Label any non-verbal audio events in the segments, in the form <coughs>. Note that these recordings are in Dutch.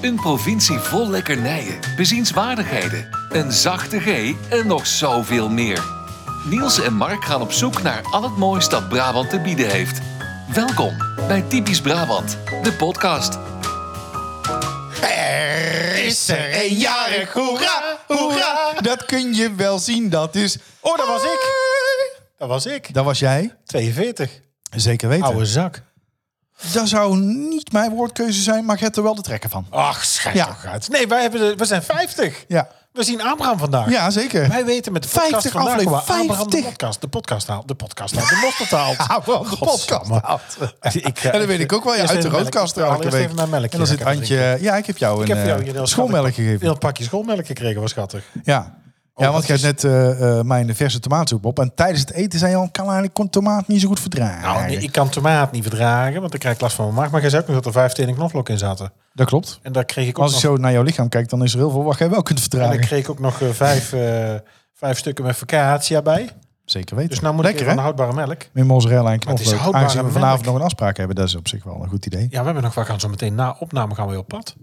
Een provincie vol lekkernijen, bezienswaardigheden, een zachte G en nog zoveel meer. Niels en Mark gaan op zoek naar al het moois dat Brabant te bieden heeft. Welkom bij Typisch Brabant, de podcast. Er is er een jarig, hoera, hoera. Dat kun je wel zien, dat is... Oh, dat was ik. Dat was ik. Dat was jij, 42. zeker weten. Oude zak. Dat zou niet mijn woordkeuze zijn, maar je hebt er wel de trekken van. Ach, schijt Ja. toch uit. Nee, wij hebben de, we zijn 50. Ja, We zien Abraham vandaag. ja zeker. Wij weten met de podcast 50 vandaag aflevering, waar Abraham de 50. podcast, de podcast haalt. De podcast haalt. <laughs> De mosterd haalt. Abraham de Godsamme. podcast haalt. Ik, eh, En dat weet ik ook wel. Ja, uit de roodkast trouwens. Ik even mijn melk. En dan zit Antje... Ja, ik heb jou Ik heb een jou eh, hier heel schoolmelk schattig- gegeven. Een pakje schoolmelk gekregen, was schattig. Ja. Ja, want jij Oh, dat hebt net eh, eh, mijn verse tomaatsoep op. En tijdens het eten zei je al, kan ik kon tomaat niet zo goed verdragen. Nou, nee, ik kan tomaat niet verdragen, want dan krijg ik last van mijn maag. Maar jij zei ook nog dat er vijf tenen knoflook in zaten. Dat klopt. En daar kreeg ik ook Als ik nog zo naar jouw lichaam kijk, dan is er heel veel wat jij wel kunt En dan verdragen. kreeg ik ook nog eh, vijf, eh, vijf stukken met vacatia bij. Zeker weten. Dus nou moet Lekker, ik even hè? aan houdbare melk. Met mozzarella en het is knoflook. houdbare Aangezien we vanavond melk. nog een afspraak hebben, dat is op zich wel een goed idee. Ja, we hebben nog, we gaan zo meteen na opname gaan we op pad.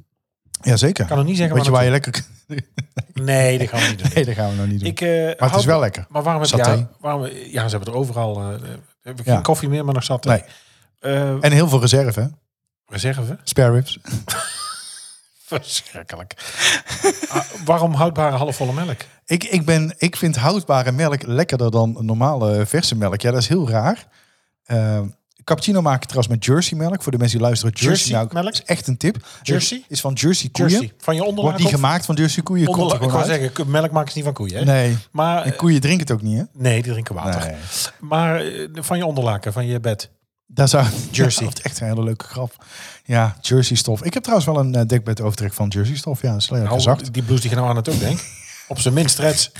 Ik Jazeker. kan nog niet zeggen Weet je waar je lekker... naartoe. Nee, dat gaan we niet doen. <laughs> Nee, dat gaan we nog niet doen. Ik, eh, maar het houd- is wel lekker. Maar waarom heb je... Saté. Ja, waarom, ja, ze hebben er overal... eh, eh, heb ik Ja. geen koffie meer, maar nog Eh, zat. Nee. En heel veel reserve, hè? reserve. Spare ribs. <laughs> Verschrikkelijk. Ah, waarom houdbare halfvolle melk? Ik, ik, ben, ik vind houdbare melk lekkerder dan normale eh, verse melk. Ja, dat is heel raar. Eh, cappuccino maak ik trouwens met Jersey melk. Voor de mensen die luisteren, Jersey, Jersey melk melk? is echt een tip. Eh, Jersey? Is van Jersey koeien. Jersey. Van je onderlaag? Wordt niet of- gemaakt van Jersey koeien. Komt onderlaag- er Ik gewoon wou uit. zeggen, melk maken ze niet van koeien. Hè? Nee, Maar, en eh, koeien drinken het ook niet, hè? nee, die drinken water. Nee. Maar eh, van je onderlaken, van je bed. Daar zou <laughs> Jersey. Ja, dat is echt een hele leuke grap. Ja, jersey stof. Ik heb trouwens wel een eh, dekbed overtrek van jersey stof. Ja, dat is lekker Nou, zacht. die blouse die je nou aan het ook denkt. Op zijn minst reds.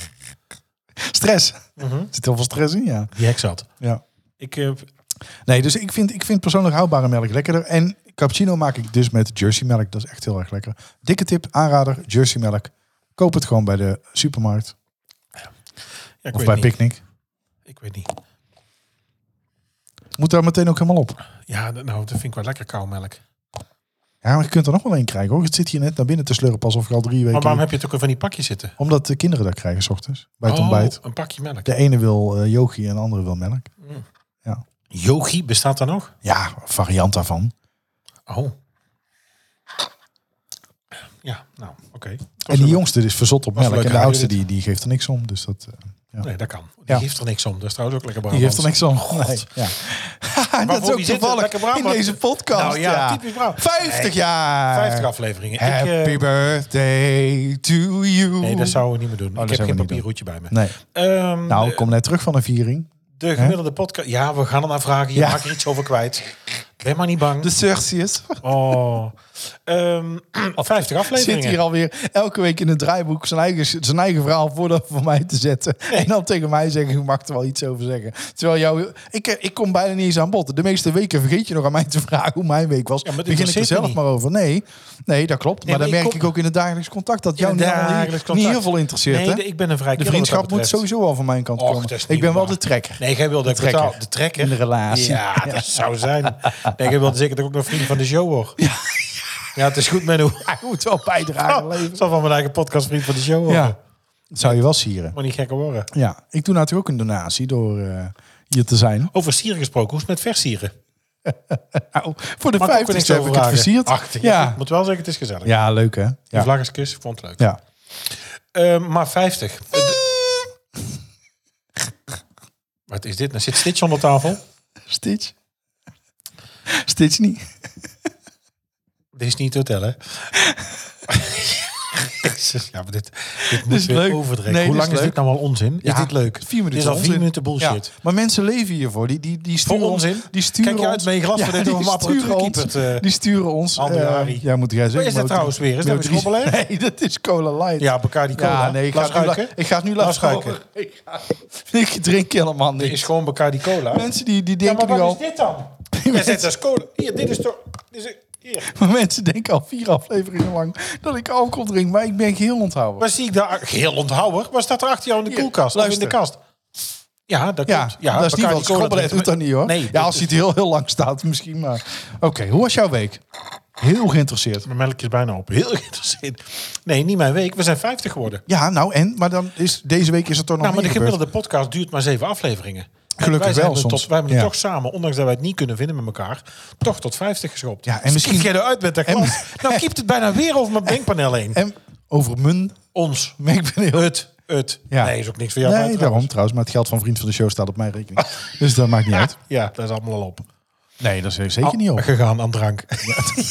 Stress. Mhm. Er zit heel veel stress in, ja. Die hek zat. ja. Ik heb Nee, dus ik vind, ik vind persoonlijk houdbare melk lekkerder. En cappuccino maak ik dus met jersey melk. Dat is echt heel erg lekker. Dikke tip, aanrader, jersey melk. Koop het gewoon bij de supermarkt ja, ik of weet bij niet. Picnic. Ik weet niet. Moet daar meteen ook helemaal op. Ja, d- nou, dat vind ik wel lekker kou melk. Ja, maar je kunt er nog wel een krijgen hoor. Het zit hier net naar binnen te slurpen alsof ik al drie weken... Maar waarom heb je het ook weer van die pakjes zitten? Omdat de kinderen dat krijgen s ochtends bij het Oh, ontbijt. een pakje melk. De ene wil eh, yogi en de andere wil melk. Yogi, bestaat dat nog? Ja, variant daarvan. Oh. Ja, nou, oké. Dat En was die wel- jongste is verzot op was een melk. En de leuke oudste radio die, die geeft er niks om. Dus dat, eh, Nee, dat kan. Die Ja. geeft er niks om. Dat is trouwens ook lekker die Brabants. geeft er niks om. Nee, ja. En <laughs> dat voor is ook wie zit het? toevallig Lekker Brabant. in deze podcast. Nou ja, ja. typisch Brabant. 50 Nee, jaar. 50 afleveringen. Ik, eh, Happy birthday to you. nee, dat zouden we niet meer doen. Oh, dat ik heb zouden geen we niet papierroetje bij me. Nee. Ehm, Nou, ik kom net terug van een viering. de gemiddelde podcast... Ja, we gaan er naar vragen. Je Ja. Dus- maakt er iets over kwijt. Ben maar niet bang. <laughs> De Cercius Oh. Ehm, <clears throat> 50 afleveringen. zit hier alweer elke week in het draaiboek zijn eigen, zijn eigen verhaal voor, dat- voor mij te zetten. En dan tegen mij zeggen, je mag er wel iets over zeggen. Terwijl jou, ik, eh, ik kom bijna niet eens aan bod. De meeste weken vergeet je nog aan mij te vragen hoe mijn week was. Ja, maar dit Begin ik er interesseert me zelf niet. maar over. Nee, nee dat klopt. Nee, maar dan maar ik merk kom- ik ook in het dagelijks contact dat jou In niet, het allemaal- dagelijks niet, contact. heel veel interesseert. Nee, hè? de- ik ben een vrij de kerel wat vriendschap dat moet betreft. sowieso al van mijn kant Och, komen. dat is niet Ik ben wel waar. de trekker. <laughs> Nee, jij wilde dat ik trekker. betaal. De trekker. In de relatie. Ja, <laughs> dat zou zijn. Nee, jij wilde zeker dat ik ook nog vriend van de show word. Ja, het is goed, <laughs> Menno. Ik moet wel bijdragen. Oh, ik zal van mijn eigen podcast vriend van de show worden. Ja, dat zou je wel sieren. Maar niet gekker worden. Ja, ik doe natuurlijk ook een donatie door eh, hier te zijn. Over sieren gesproken, hoe is het met versieren? Nou, voor de Mag ik ook niks 50 heb over ik het vragen? versierd. Ach, ja. ja. Ik moet wel zeggen, het is gezellig. ja, leuk hè? De Ja. vlag is kus, ik vond het leuk. ja. Ehm, maar 50. Eh, de- <laughs> Wat is dit? Nou zit Stitch onder tafel. Stitch. Stitch niet. Dit is niet <laughs> te tellen. Jezus, ja, maar dit, dit moet is weer leuk. overdreven. Nee, dit Hoe lang is is dit leuk. nou al onzin? Ja, is dit leuk? Vier minuten Dit is al vier onzin. minuten bullshit. Ja, Maar mensen leven hiervoor. Die, die, die sturen Voor ons- onzin? Die sturen Kijk je uit ons- met je glas, Ja, we <laughs> denken die dat we hem sturen apparatuur ons. keept, eh, die sturen ons. Ander eh, Jari. ja, moet jij zeggen. Wat is dat Motor- trouwens weer? Is dat Motor- weer schrobbelen? <laughs> Nee, dat is Cola Light. Ja, Bacardi Cola. Ja, nee, ik ga, Laat het nu, la- ruiken. ik ga het nu Laat laten ruiken. <laughs> ruiken. Ik, ga- ik drink helemaal Dit niks. is gewoon Bacardi Cola. Mensen die, die ja, denken maar wat nu al... is dit dan? mensen- Jij zet als cola. Hier, dit is toch... Dit is, hier. <laughs> Maar mensen denken al vier afleveringen lang dat ik alcohol drink, maar ik ben geheel onthouden. Wat zie ik daar? Geel onthouwer. Wat staat er achter jou in de Hier, koelkast? Of in de luister. kast? Ja, dat Ja, klopt. Ja, dat is niet Bacardi wat Cola schobbelen drinken doet we- dat niet hoor. Nee, ja, als dit- hij het heel, heel lang staat misschien maar. Oké, hoe was jouw week? Heel geïnteresseerd. Mijn melk is bijna op. Heel <laughs> geïnteresseerd. Nee, niet mijn week. We zijn 50 geworden. Ja, nou en? Maar dan is, deze week is het toch nog Nou, maar de meer gebeurd. gemiddelde podcast duurt maar zeven afleveringen. En Gelukkig wij zijn wel er soms. Tot, wij hebben het Ja. toch samen, ondanks dat wij het niet kunnen vinden met elkaar, toch tot 50 geschopt. Ja, en Dus misschien- kiep jij eruit met dat en- glas. Nou kiept het bijna weer over mijn denkpaneel heen. <laughs> En over mun. <laughs> Ons. Maar ik ben heel... Het. Het. Ja. Nee, is ook niks voor jou. nee, maar daarom trouwens. trouwens. Maar het geld van vriend van de show staat op mijn <laughs> rekening. dus dat maakt niet uit. Ja, dat is allemaal al op. Nee, dat is zeker niet op. Gegaan aan drank.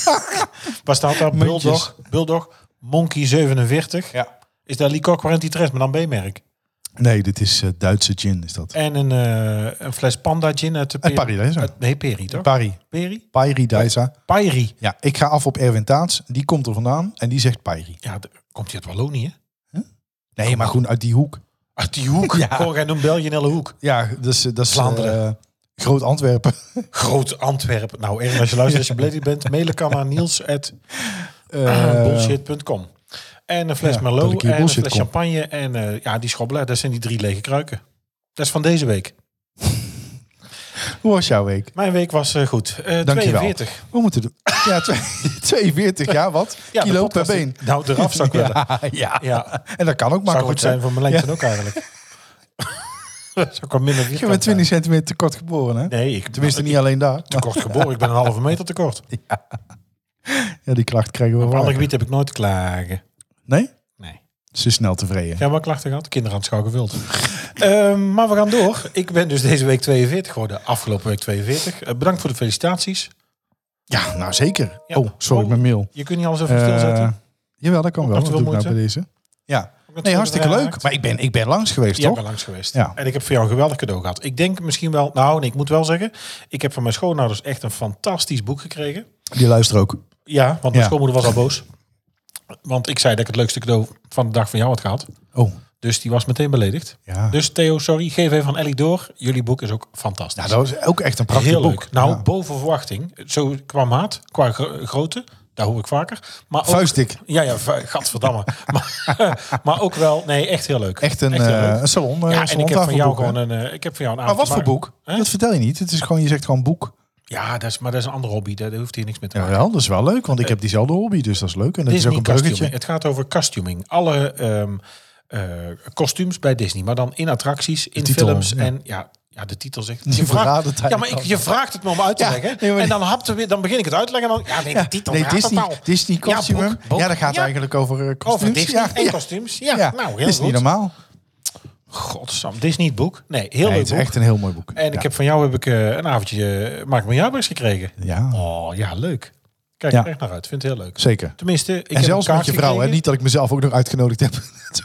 <laughs> Waar staat daar? Muntjes. Bulldog. Bulldog. Monkey 47. Ja. Is dat Licor 43, maar dan B-merk. Nee, dit is eh, Duitse gin, is dat. En een, eh, een fles Panda Gin uit de Uit Paradijs, hè? uit- Nee, Peri, toch? Pari. Peri? Pairi Daisa. Pairi. Ja, ik ga af op Erwin Taats. Die komt er vandaan en die zegt Pairi. Ja, d- komt hij uit Wallonië? hè? Nee, maar gewoon uit die hoek. Uit die hoek. <laughs> Ja. Gewoon, jij noemt België een hele hoek. Ja, dat is, eh, dat is Vlaanderen. eh, Groot <laughs> Antwerpen. Groot Antwerpen. Nou, Erwin, als je luistert, als je beledigd bent, mailen kan <laughs> naar niels at Ah, Eh, bullshit.com. En een fles ja, dat Merlot ik hier en een bullshit fles kom. champagne. En eh, ja, die schobbelaar, dat zijn die drie lege kruiken. Dat is van deze week. Hoe was jouw week? Mijn week was eh, goed. Eh Dankjewel. 42. We moeten doen. Ja, twee- <laughs> 42, ja, wat? Ja, de Kilo per podcast been. is- Nou, eraf <laughs> zou ik willen. Ja, <laughs> ja. Ja. En dat kan ook Zou goed makkelijk zijn zijn. voor mijn lengte ook <laughs> eigenlijk. dat zou ik wel minder Je vierkant bent 20 centimeter tekort geboren, hè? zijn. Nee, ik ben Tenminste, niet alleen daar. Maar tekort geboren. Ik ben een halve meter <laughs> tekort. Op ja, die klacht krijgen we een wel. ander gebied heb ik nooit te klagen. Nee? Nee. Ze is snel tevreden. Jij wel klachten gehad? Kinderen aan het schouw gevuld. <laughs> Ehm, maar we gaan door. Ik ben dus deze week 42 geworden. Afgelopen week 42. Eh, bedankt voor de felicitaties. Ja, nou zeker. Ja. Oh, sorry, Oh. mijn mail. Je kunt niet alles even stilzetten. Eh, jawel, dat kan wel. Ook Dat dat doe ik wel nou bij deze. Ja. Omdat Nee, je hartstikke erbij leuk. raakt. Maar ik ben, ik ben langs geweest, Jij toch? bent langs geweest. Ja. En ik heb voor jou een geweldig cadeau gehad. Ik denk misschien wel... Nou, nee, ik moet wel zeggen. Ik heb van mijn schoonouders echt een fantastisch boek gekregen. Die luisteren ook. Ja, want mijn Ja. schoonmoeder was al boos. Want ik zei dat ik het leukste cadeau van de dag van jou had gehad. Oh, Dus die was meteen beledigd. ja. Dus Theo, sorry, geef even aan Ellie door. Jullie boek is ook fantastisch. Nou, dat was ook echt een prachtig Heel boek. leuk. Nou, Ja. boven verwachting. Zo qua maat, qua gro- grootte. Daar hoor ik vaker. Maar ook, Vuistdik. Ja, ja, vu- gadverdamme. <laughs> maar, maar ook wel, nee, echt heel leuk. Echt een, Echt heel leuk. eh, een salon. eh, ja, en ik heb van jou salontafelboek, gewoon hè? een, eh, ik heb van jou een Maar wat voor avond boek? Hè? Dat vertel je niet. Het is gewoon, je zegt gewoon boek. Ja, dat is, maar dat is een andere hobby. Daar daar hoeft hier niks mee te maken. Jawel, dat is wel leuk, want ik heb diezelfde hobby, dus dat is leuk. En dat is ook Eh, Disney Eh, een costuming. bruggetje. Het gaat over costuming. Alle ehm, eh, kostuums bij Disney, maar dan in attracties, in titel, films ja. en ja, ja, de titel zegt. Die verraadt het ja, maar eigenlijk ik, je vraagt het me om uit te Ja, leggen nee, maar- en dan hapt er weer, dan begin ik het uit te leggen en dan ja, nee, de titel nee, raadt het Disney, al. Disney Ja, Costume. Ja, boek, boek. dat gaat Ja, eigenlijk over eh, kostuums. over Disney en ja. kostuums. Ja, Ja, nou heel is niet goed. normaal. Godsam, Disney het boek. Nee, heel Nee, leuk het is boek. echt een heel mooi boek. En ik Ja. heb van jou heb ik eh, een avondje eh, Maak mijn jaarbeurs gekregen. Ja, Oh ja, leuk. Kijk Ja. er echt naar uit. Vind het heel leuk. zeker. Tenminste, ik en heb zelfs een met kaart je vrouw, hè? gekregen. niet dat ik mezelf ook nog uitgenodigd heb.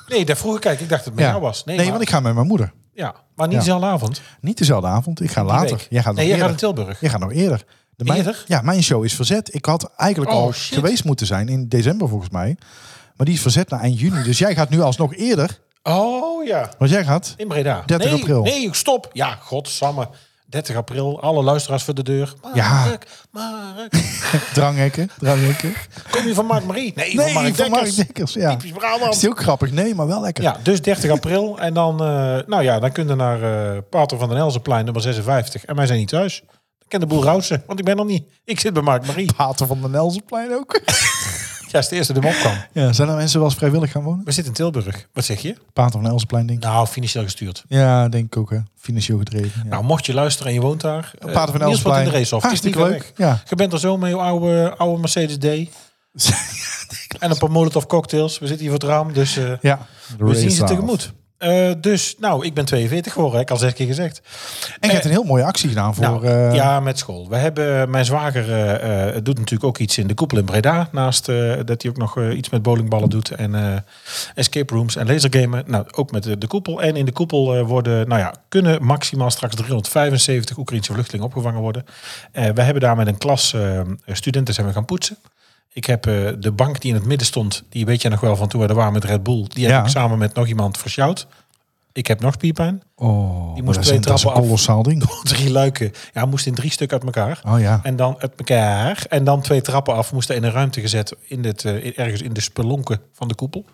Nee, daar vroeg ik kijk, ik dacht dat het met jou was. Nee, Nee, maar, want ik ga met mijn moeder. ja, maar niet Ja. dezelfde avond. Niet dezelfde avond, ik ga Die later. week. Jij gaat nog nee, jij eerder. gaat naar Tilburg. Jij gaat nog eerder. De mijn- Eerder? Ja, mijn show is verzet. Ik had eigenlijk Oh, al shit. geweest moeten zijn in december volgens mij. Maar die is verzet naar eind juni. Dus jij gaat nu alsnog eerder. Oh ja, Want jij gaat. in Breda. 30 nee, april. Nee, stop. Ja, godsamme. 30 april, alle luisteraars voor de deur. Mark, Ja. Mark. <laughs> Dranghekken. Dranghekken. Kom je van Mark Marie? Nee, Nee, van Mark van Mark Dekkers. Dekkers. Ja. Typisch Brabant. Is heel grappig. Nee, maar wel lekker. Ja, dus 30 april. En dan, eh, nou ja, dan kun je naar eh Pater van den Elzenplein, nummer 56. En wij zijn niet thuis. Ik ken de boel rousen, want ik ben er niet. Ik zit bij Mark Marie. Pater van de Nelsenplein ook. <laughs> Ja, is de eerste die me opkwam. Ja, zijn er mensen wel eens vrijwillig gaan wonen? We zitten in Tilburg. Wat zeg je? Pater van de Nelsenplein, denk ik. Nou, financieel gestuurd. Ja, denk ik ook. Hè. Financieel gedreven. Ja. <laughs> Nou, mocht je luisteren en je woont daar. eh, Pater van Niels Elsplein. in de race of. Hartstikke leuk. Ja. Je bent er zo mee, oude, oude Mercedes D. En een paar Molotov cocktails. We zitten hier voor het raam, dus eh, ja. we zien ze tegemoet. Eh, dus, nou, ik ben 42 geworden, heb ik al zes keer gezegd. En je hebt een heel mooie actie gedaan voor... Eh, Nou, eh, ja, met school. We hebben, mijn zwager eh, eh, doet natuurlijk ook iets in de koepel in Breda. Naast eh, dat hij ook nog eh, iets met bowlingballen doet en eh, escape rooms en lasergamen. Nou, ook met de, de koepel. En in de koepel eh, worden, nou ja, kunnen maximaal straks 375 Oekraïnse vluchtelingen opgevangen worden. Eh, we hebben daar met een klas eh, studenten zijn we gaan poetsen. Ik heb eh, de bank die in het midden stond, die weet je nog wel van toen we er waren met Red Bull. Die heb Ja. ik samen met nog iemand versjouwd. Ik heb nog piepijn. oh, die maar moest dat is twee een- dat is een trappen af. kolossaal ding. <laughs> Drie luiken. Ja, moest in drie stukken uit elkaar. Oh ja. En dan uit elkaar. En dan twee trappen af moesten in een ruimte gezet. In het, eh, in- ergens in de spelonken van de koepel.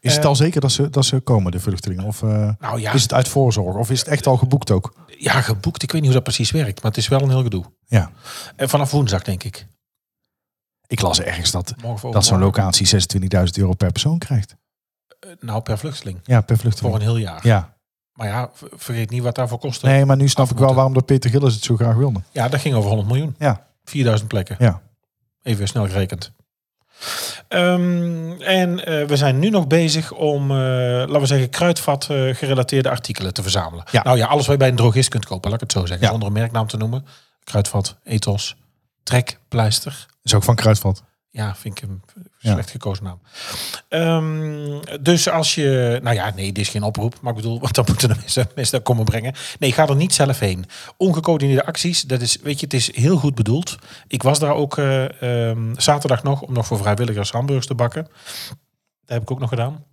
Is het Eh, al zeker dat ze, dat ze komen, de vluchtelingen? Of eh, Nou ja. is het uit voorzorg? Of is het echt al geboekt ook? Ja, Eh, geboekt. Ik weet niet hoe dat precies werkt. Maar het is wel een heel gedoe. Ja. En vanaf woensdag, denk ik. Ik las ergens dat, Morgen voor dat zo'n overmorgen. locatie 26.000 euro per persoon krijgt. Nou, per vluchteling. Ja, per Voor een vluchteling. heel jaar. Ja. Maar ja, ver- vergeet niet wat daarvoor kostte. Nee, maar nu snap ik wel moeten. waarom dat Peter Gillis het zo graag wilde. Ja, dat ging over 100 miljoen. Ja. 4000 plekken. Ja. Even snel gerekend. Ehm, en eh, we zijn nu nog bezig om, eh, laten we zeggen, kruidvat eh, gerelateerde artikelen te verzamelen. Ja. Nou ja, alles wat je bij een drogist kunt kopen, laat ik het zo zeggen. Ja. Zonder een merknaam te noemen. Kruidvat, ethos, trek, pleister. Is ook van Kruidvat. Ja, vind ik een Ja. slecht gekozen naam. Ehm, dus als je... Nou ja, nee, dit is geen oproep. Maar ik bedoel, <laughs> want dan moeten de mensen, mensen daar komen brengen. Nee, ga er niet zelf heen. Ongecoördineerde acties, dat is... Weet je, het is heel goed bedoeld. Ik was daar ook eh, ehm, zaterdag nog... om nog voor vrijwilligers hamburgers te bakken. Dat heb ik ook nog gedaan.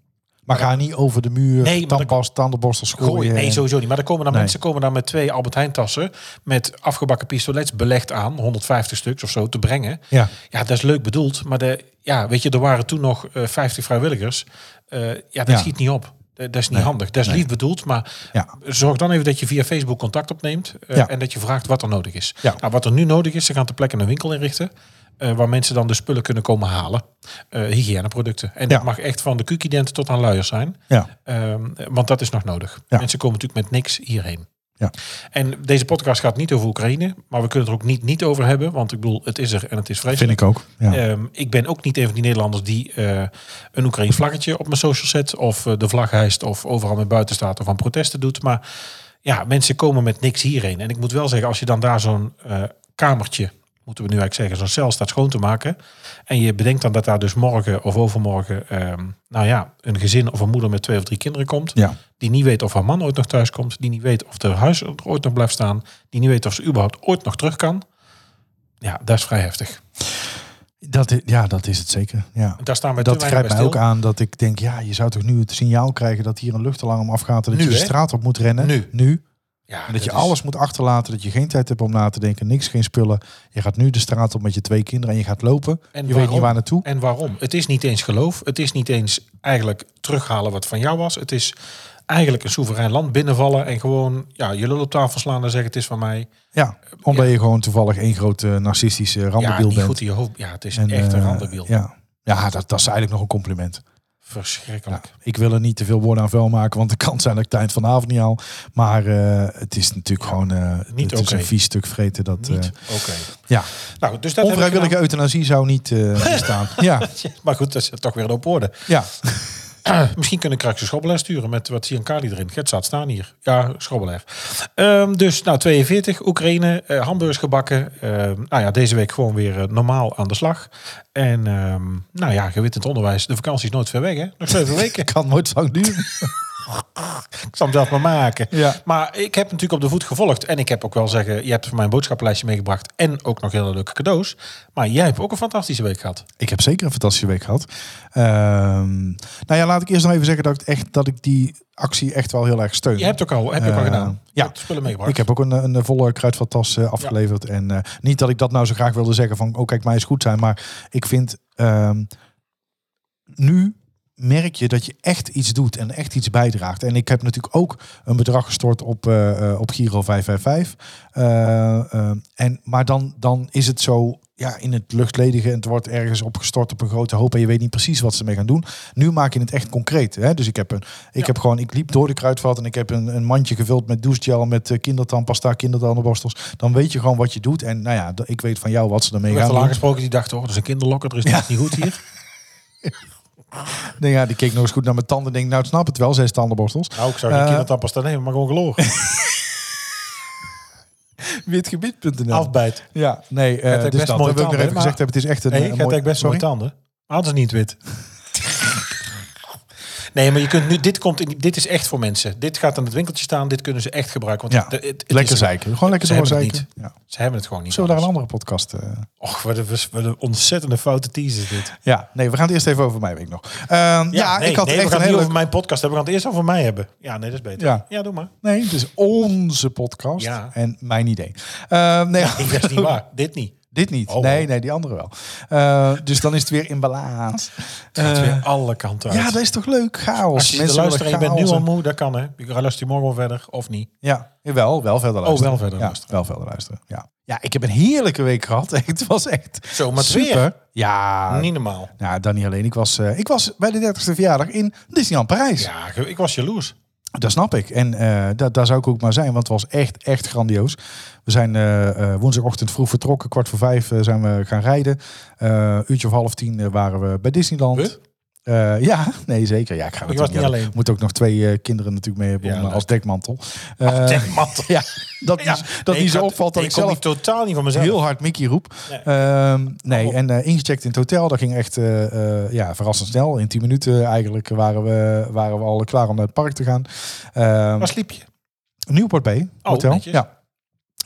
Maar ga niet over de muur, Nee, maar tandpas, tandenborstel gooien. Gooi. Nee, en- sowieso niet. Maar er komen dan Oh, Nee. mensen komen dan met twee Albert Heijn tassen... met afgebakken pistolets belegd aan, 150 stuks of zo, te brengen. Ja. Ja, dat is leuk bedoeld, maar de, ja, weet je, er waren toen nog eh 50 vrijwilligers. Eh, ja, dat Ja. schiet niet op. Dat dat is niet Nee, handig. Dat is nee. lief bedoeld, maar Ja. zorg dan even dat je via Facebook contact opneemt eh, Ja. en dat je vraagt wat er nodig is. Ja. Nou, wat er nu nodig is, ze gaan ter plekke een winkel inrichten eh, waar mensen dan de spullen kunnen komen halen. Eh, hygiëneproducten. En dat Ja. mag echt van de kukident tot aan luiers zijn. Ja. Ehm, want dat is nog nodig. Ja. Mensen komen natuurlijk met niks hierheen. Ja. En deze podcast gaat niet over Oekraïne, maar we kunnen het er ook niet, niet over hebben. Want ik bedoel, het is er en het is vreselijk. Vind ik ook. Ja. Ehm, ik ben ook niet een van die Nederlanders die eh, een Oekraïns vlaggetje op mijn social zet. Of eh, de vlag hijst of overal mee buiten staat of aan protesten doet. Maar ja, mensen komen met niks hierheen. En ik moet wel zeggen, als je dan daar zo'n eh, kamertje, moeten we nu eigenlijk zeggen, zo'n cel staat schoon te maken. En je bedenkt dan dat daar dus morgen of overmorgen, ehm, nou ja, een gezin of een moeder met twee of drie kinderen komt. ja. Die niet weet of haar man ooit nog thuis komt. Die niet weet of haar huis er ooit nog blijft staan. Die niet weet of ze überhaupt ooit nog terug kan. Ja, dat is vrij heftig. Dat, i- ja, dat is het zeker. Ja. Daar staan we te Dat weinig grijpt bij mij stil. ook aan dat ik denk, ja, je zou toch nu het signaal krijgen dat hier een luchtalarm afgaat en dat Nu, je de hè? straat op moet rennen. Nu. Nu. Ja, En dat, je alles moet achterlaten, dat je geen tijd hebt om na te denken, niks, geen spullen. Je gaat nu de straat op met je twee kinderen en je gaat lopen. En je weet waarom? niet waar naartoe. En waarom? Het is niet eens geloof. Het is niet eens eigenlijk terughalen wat van jou was. Het is eigenlijk een soeverein land binnenvallen en gewoon ja, je lul op tafel slaan en zeggen het is van mij. Ja, omdat je gewoon toevallig één grote narcistische Ja, randenbiel niet bent. goed in je hoofd. Ja, het is En, echt een eh, randenwiel. Ja, ja dat, dat is eigenlijk nog een compliment. Ja, Verschrikkelijk. ik wil er niet te veel woorden aan vuil maken, want de kans zijn dat ik het eind van de avond niet haal. Maar eh, het is natuurlijk gewoon eh, niet het is oké. een vies stuk vreten. Dat, Niet. eh, Oké. ja. Nou, dus dat heb ik Onvrijwillige euthanasie zou niet <laughs> eh, bestaan. ja, gedaan. <laughs> Maar goed, dat is toch weer een op orde. ja. Misschien kunnen Krakse Schobbelaar sturen met wat Siankali erin. Het staat staan hier. Ja, Schobbelaar. Ehm, dus nou, 42, Oekraïne, eh hamburgers gebakken. Ehm, nou ja, deze week gewoon weer eh, normaal aan de slag. En ehm, nou ja, gewittend onderwijs. De vakantie is nooit ver weg, hè? Nog zeven weken. kan nooit lang duren. Ik zal hem zelf maar maken. <laughs> Ja. Maar ik heb natuurlijk op de voet gevolgd. En ik heb ook wel zeggen, je hebt voor mij een boodschappenlijstje meegebracht. En ook nog hele leuke cadeaus. Maar jij hebt ook een fantastische week gehad. Ik heb zeker een fantastische week gehad. Ehm, nou ja, laat ik eerst nog even zeggen dat ik, echt, dat ik die actie echt wel heel erg steun. Je hebt ook al, heb je ook al Eh, gedaan. Je ja. hebt spullen meegebracht. Ik heb ook een, een volle kruidvattas eh, afgeleverd. En eh, niet dat ik dat nou zo graag wilde zeggen van... oh kijk, mij is goed zijn. Maar ik vind... ehm, nu merk je dat je echt iets doet en echt iets bijdraagt. En ik heb natuurlijk ook een bedrag gestort op, eh, eh, op Giro 555. Eh, eh, en, maar dan, dan is het zo... Ja, in het luchtledige en het wordt ergens opgestort op een grote hoop en je weet niet precies wat ze mee gaan doen. Nu maak je het echt concreet. Hè? Dus ik heb een ik Ja. heb gewoon, ik liep door de kruidvat en ik heb een, een mandje gevuld met douchegel, met eh, kindertandpasta, kindertandenborstels. Dan weet je gewoon wat je doet. En nou ja, d- ik weet van jou wat ze ermee Ik werd gaan al doen. aangesproken die dag, toch? Dat is een kinderlokker, er is niks niet goed <laughs> hier. Nee, ja, die keek nog eens goed naar mijn tanden en denk, nou ik snap het wel, zes tandenborstels. Nou, ik zou geen Eh, kindertandpasta nemen, maar gewoon geloor. <laughs> Witgebied.nl. Afbijt. ja, nee, eh, Het heeft dus best dat, dat mooie wil ik tanden, nog hè, even maar- gezegd hebben. Het is echt een, Nee, eh, je mooi- hebt best mooie sorry? tanden. Hadden ze niet wit. <laughs> nee, maar je kunt nu, dit, komt in, dit is echt voor mensen. Dit gaat aan het winkeltje staan, dit kunnen ze echt gebruiken. Want Ja, het- het- het Lekker is- zeiken, gewoon lekker Ze door hebben het zeiken. Ja. Ze hebben het gewoon niet. Zullen we daar een anders. andere podcast... eh, Och, wat een, wat een ontzettende foute teaser is dit. ja, nee, we gaan het eerst even over mijn week nog. Ehm, ja, nee, ik had nee, we echt een gaan het niet hele... over mijn podcast hebben. We gaan het eerst over mij hebben. Ja, nee, dat is beter. Ja. Ja, doe maar. Nee, het is onze podcast Ja. en mijn idee. Ehm, nee, Ik dat is niet waar. Dit niet. <laughs> Dit niet. Oh. nee, nee, die andere wel. Eh, dus dan is het weer in balans. <laughs> Het gaat Eh, weer alle kanten uit. ja, dat is toch leuk? Chaos. Als je zit te willen luisteren en je bent nu chaos al en- moe, dat kan hè. Je luistert je morgen wel verder, of niet. Ja, wel, wel verder luisteren. Oh, wel verder ja, luisteren. Wel verder luisteren, ja. Ja, ik heb een heerlijke week gehad. <laughs> Het was echt Zo, maar het super. weer? Ja, niet normaal. nou, dan niet alleen. Ik was, eh, ik was bij de 30ste verjaardag in Disneyland Parijs. Ja, ge- ik was jaloers. Dat snap ik. En eh, da- daar zou ik ook maar zijn, want het was echt, echt grandioos. We zijn eh, eh, woensdagochtend vroeg vertrokken. Kwart voor vijf eh, zijn we gaan rijden. Eh uurtje of half tien eh, waren we bij Disneyland. Huh? Eh, ja, nee zeker. Ja, ik ga Je natuurlijk was niet hebben. alleen. Moet ook nog twee eh, kinderen natuurlijk mee hebben Ja, nou. om, eh, leuk. als dekmantel. Eh, Zeg, man. <laughs> ja, dat Ja. niet, dat Nee, niet ik zo had- opvalt dat ik, ik kon zelf niet totaal niet van mezelf. heel hard Mickey roep. Nee. Ehm, nee, Oh. en eh, ingecheckt in het hotel. Dat ging echt eh, eh, ja, verrassend snel. In 10 minuten eigenlijk waren we, waren we al klaar om naar het park te gaan. Ehm, Waar sliep je? Newport Bay Hotel. Oh, netjes. ja.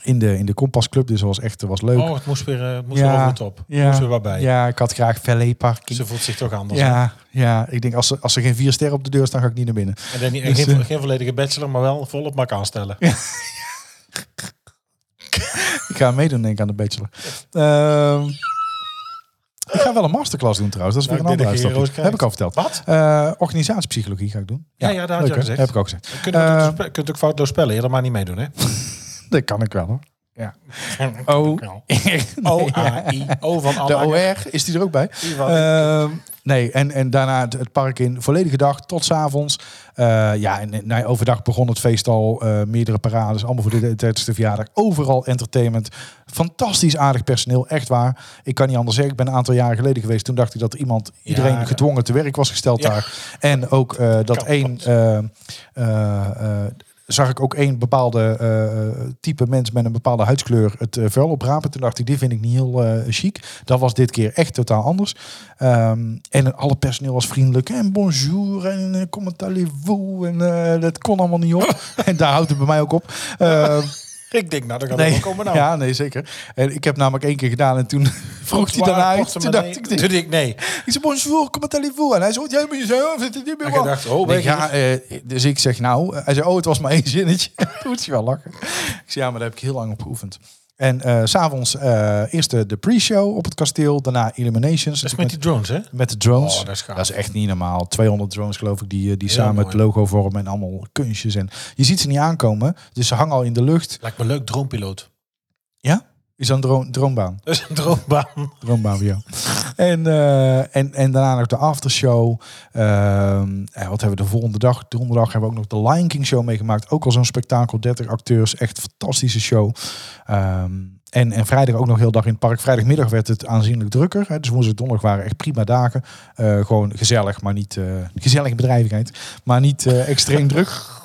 In de, in de Compass Club, dus dat was echt was leuk. Oh, het moest weer, eh, het moest Ja. weer over de top. Ja. Moest weer wat bij. ja, ik had graag valet parking. Ze voelt zich toch anders. Ja, ja, ik denk als er, als er geen vier sterren op de deur staan, ga ik niet naar binnen. En dan, niet- Dus, geen, eh, geen volledige bachelor, maar wel volop mak aanstellen. Ik ga meedoen denk ik aan de bachelor. Ehm, ik ga wel een masterclass doen trouwens. Dat is Nou, weer een ik andere denk dat je uitstapje. roos Heb ik al verteld. Wat? Eh, organisatiepsychologie ga ik doen. Ja, ja, dat had je leuk, al hè? gezegd. Heb ik ook gezegd. Je kunt, ook Eh, spe- kunt ook foutloos spellen. Je dat maar niet meedoen, <laughs> hè? Dat kan ik wel hoor. Oh. <laughs> O, Oh, A, I, O van De E. Anna. OR, is die er ook bij? I van- Ehm, nee, en, en daarna het, het park in volledige dag tot 's avonds. Eh, ja, en, en nou ja, overdag begon het feest al. eh, meerdere parades, allemaal voor de 30ste verjaardag. Overal entertainment. Fantastisch aardig personeel, echt waar. Ik kan niet anders zeggen, ik ben een aantal jaren geleden geweest. Toen dacht ik dat iemand, iedereen ja. gedwongen te werk was gesteld Ja. daar. En ook eh, dat Kan één... pas. eh, eh, eh, Zag ik ook één bepaalde eh, type mens met een bepaalde huidskleur het eh, vuil oprapen. Toen dacht ik, dit vind ik niet heel eh, chic. Dat was dit keer echt totaal anders. Ehm, en alle personeel was vriendelijk. En bonjour en eh, comment allez-vous. En eh, dat kon allemaal niet <laughs> op. en daar houdt het bij mij ook op. Ehm, Ik denk, nou, dat gaat nee. wel komen nou. Ja, nee, zeker. En ik heb namelijk één keer gedaan en toen <laughs> vroeg hij daarna uit. Toen dacht ik, Toen dacht ik, nee. ik zei bonjour, comment allez-vous. En hij zei, jij moet jezelf, dit niet meer Ik dacht, oh, Nee, weet je ja, eh, dus ik zeg nou, eh, hij zei, oh, het was maar één zinnetje. <laughs> Toen moet je wel lachen. Ik zei, ja, maar daar heb ik heel lang op geoefend. En eh, s s'avonds eh eerst de, de pre-show op het kasteel, daarna Illuminations. Dat is met die drones, hè? met de drones. Oh, dat is gaaf. echt niet normaal. 200 drones geloof ik, die, eh, die Heel samen mooi. het logo vormen en allemaal kunstjes. En je ziet ze niet aankomen, dus ze hangen al in de lucht. Lijkt me leuk, droompiloot. <laughs> Ja? Is dat een dro- droombaan? Dat is een droombaan. Roombaan voor jou. en, eh, en, en daarna nog de aftershow. Ehm, en wat hebben we de volgende dag? Donderdag hebben we ook nog de Lion King show meegemaakt. Ook al zo'n spektakel, 30 acteurs. Echt fantastische show. Ehm, en, en vrijdag ook nog heel dag in het park. Vrijdagmiddag werd het aanzienlijk drukker. Hè. Dus woensdag donderdag waren echt prima dagen. Eh, gewoon gezellig, maar niet... eh gezellige bedrijvigheid. Maar niet eh, <laughs> extreem druk.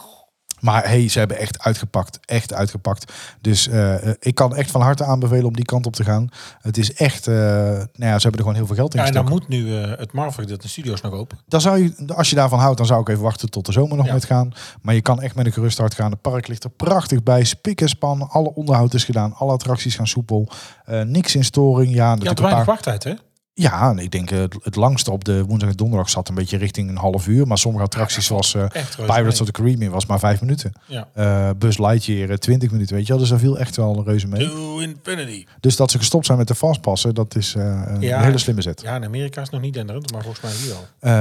Maar hey, ze hebben echt uitgepakt. Echt uitgepakt. Dus eh, eh, ik kan echt van harte aanbevelen om die kant op te gaan. Het is echt... eh, nou ja, ze hebben er gewoon heel veel geld in Ja, en gestoken. dan moet nu eh, het Marvel, dat de studio's nog open. Dan zou je, als je daarvan houdt, dan zou ik even wachten tot de zomer nog Ja. met gaan. Maar je kan echt met een gerust hart gaan. Het park ligt er prachtig bij. Spik en span. Alle onderhoud is gedaan. Alle attracties gaan soepel. Eh, niks in storing. Ja, Je natuurlijk had een weinig paar... wachttijd, hè? ja en ik denk eh, het, het langste op de woensdag en donderdag zat een beetje richting een half uur. Maar sommige attracties zoals eh, Echt reuze. Pirates mee. of the Caribbean was maar vijf minuten. Ja. Eh, Bus Lightyear eh, 20 minuten, weet je wel. Dus daar viel echt wel een reuze mee. To infinity. Dus dat ze gestopt zijn met de fastpassen, dat is eh, een Ja. hele slimme zet. Ja, in Amerika is het nog niet denderend, maar volgens mij hier al. Eh,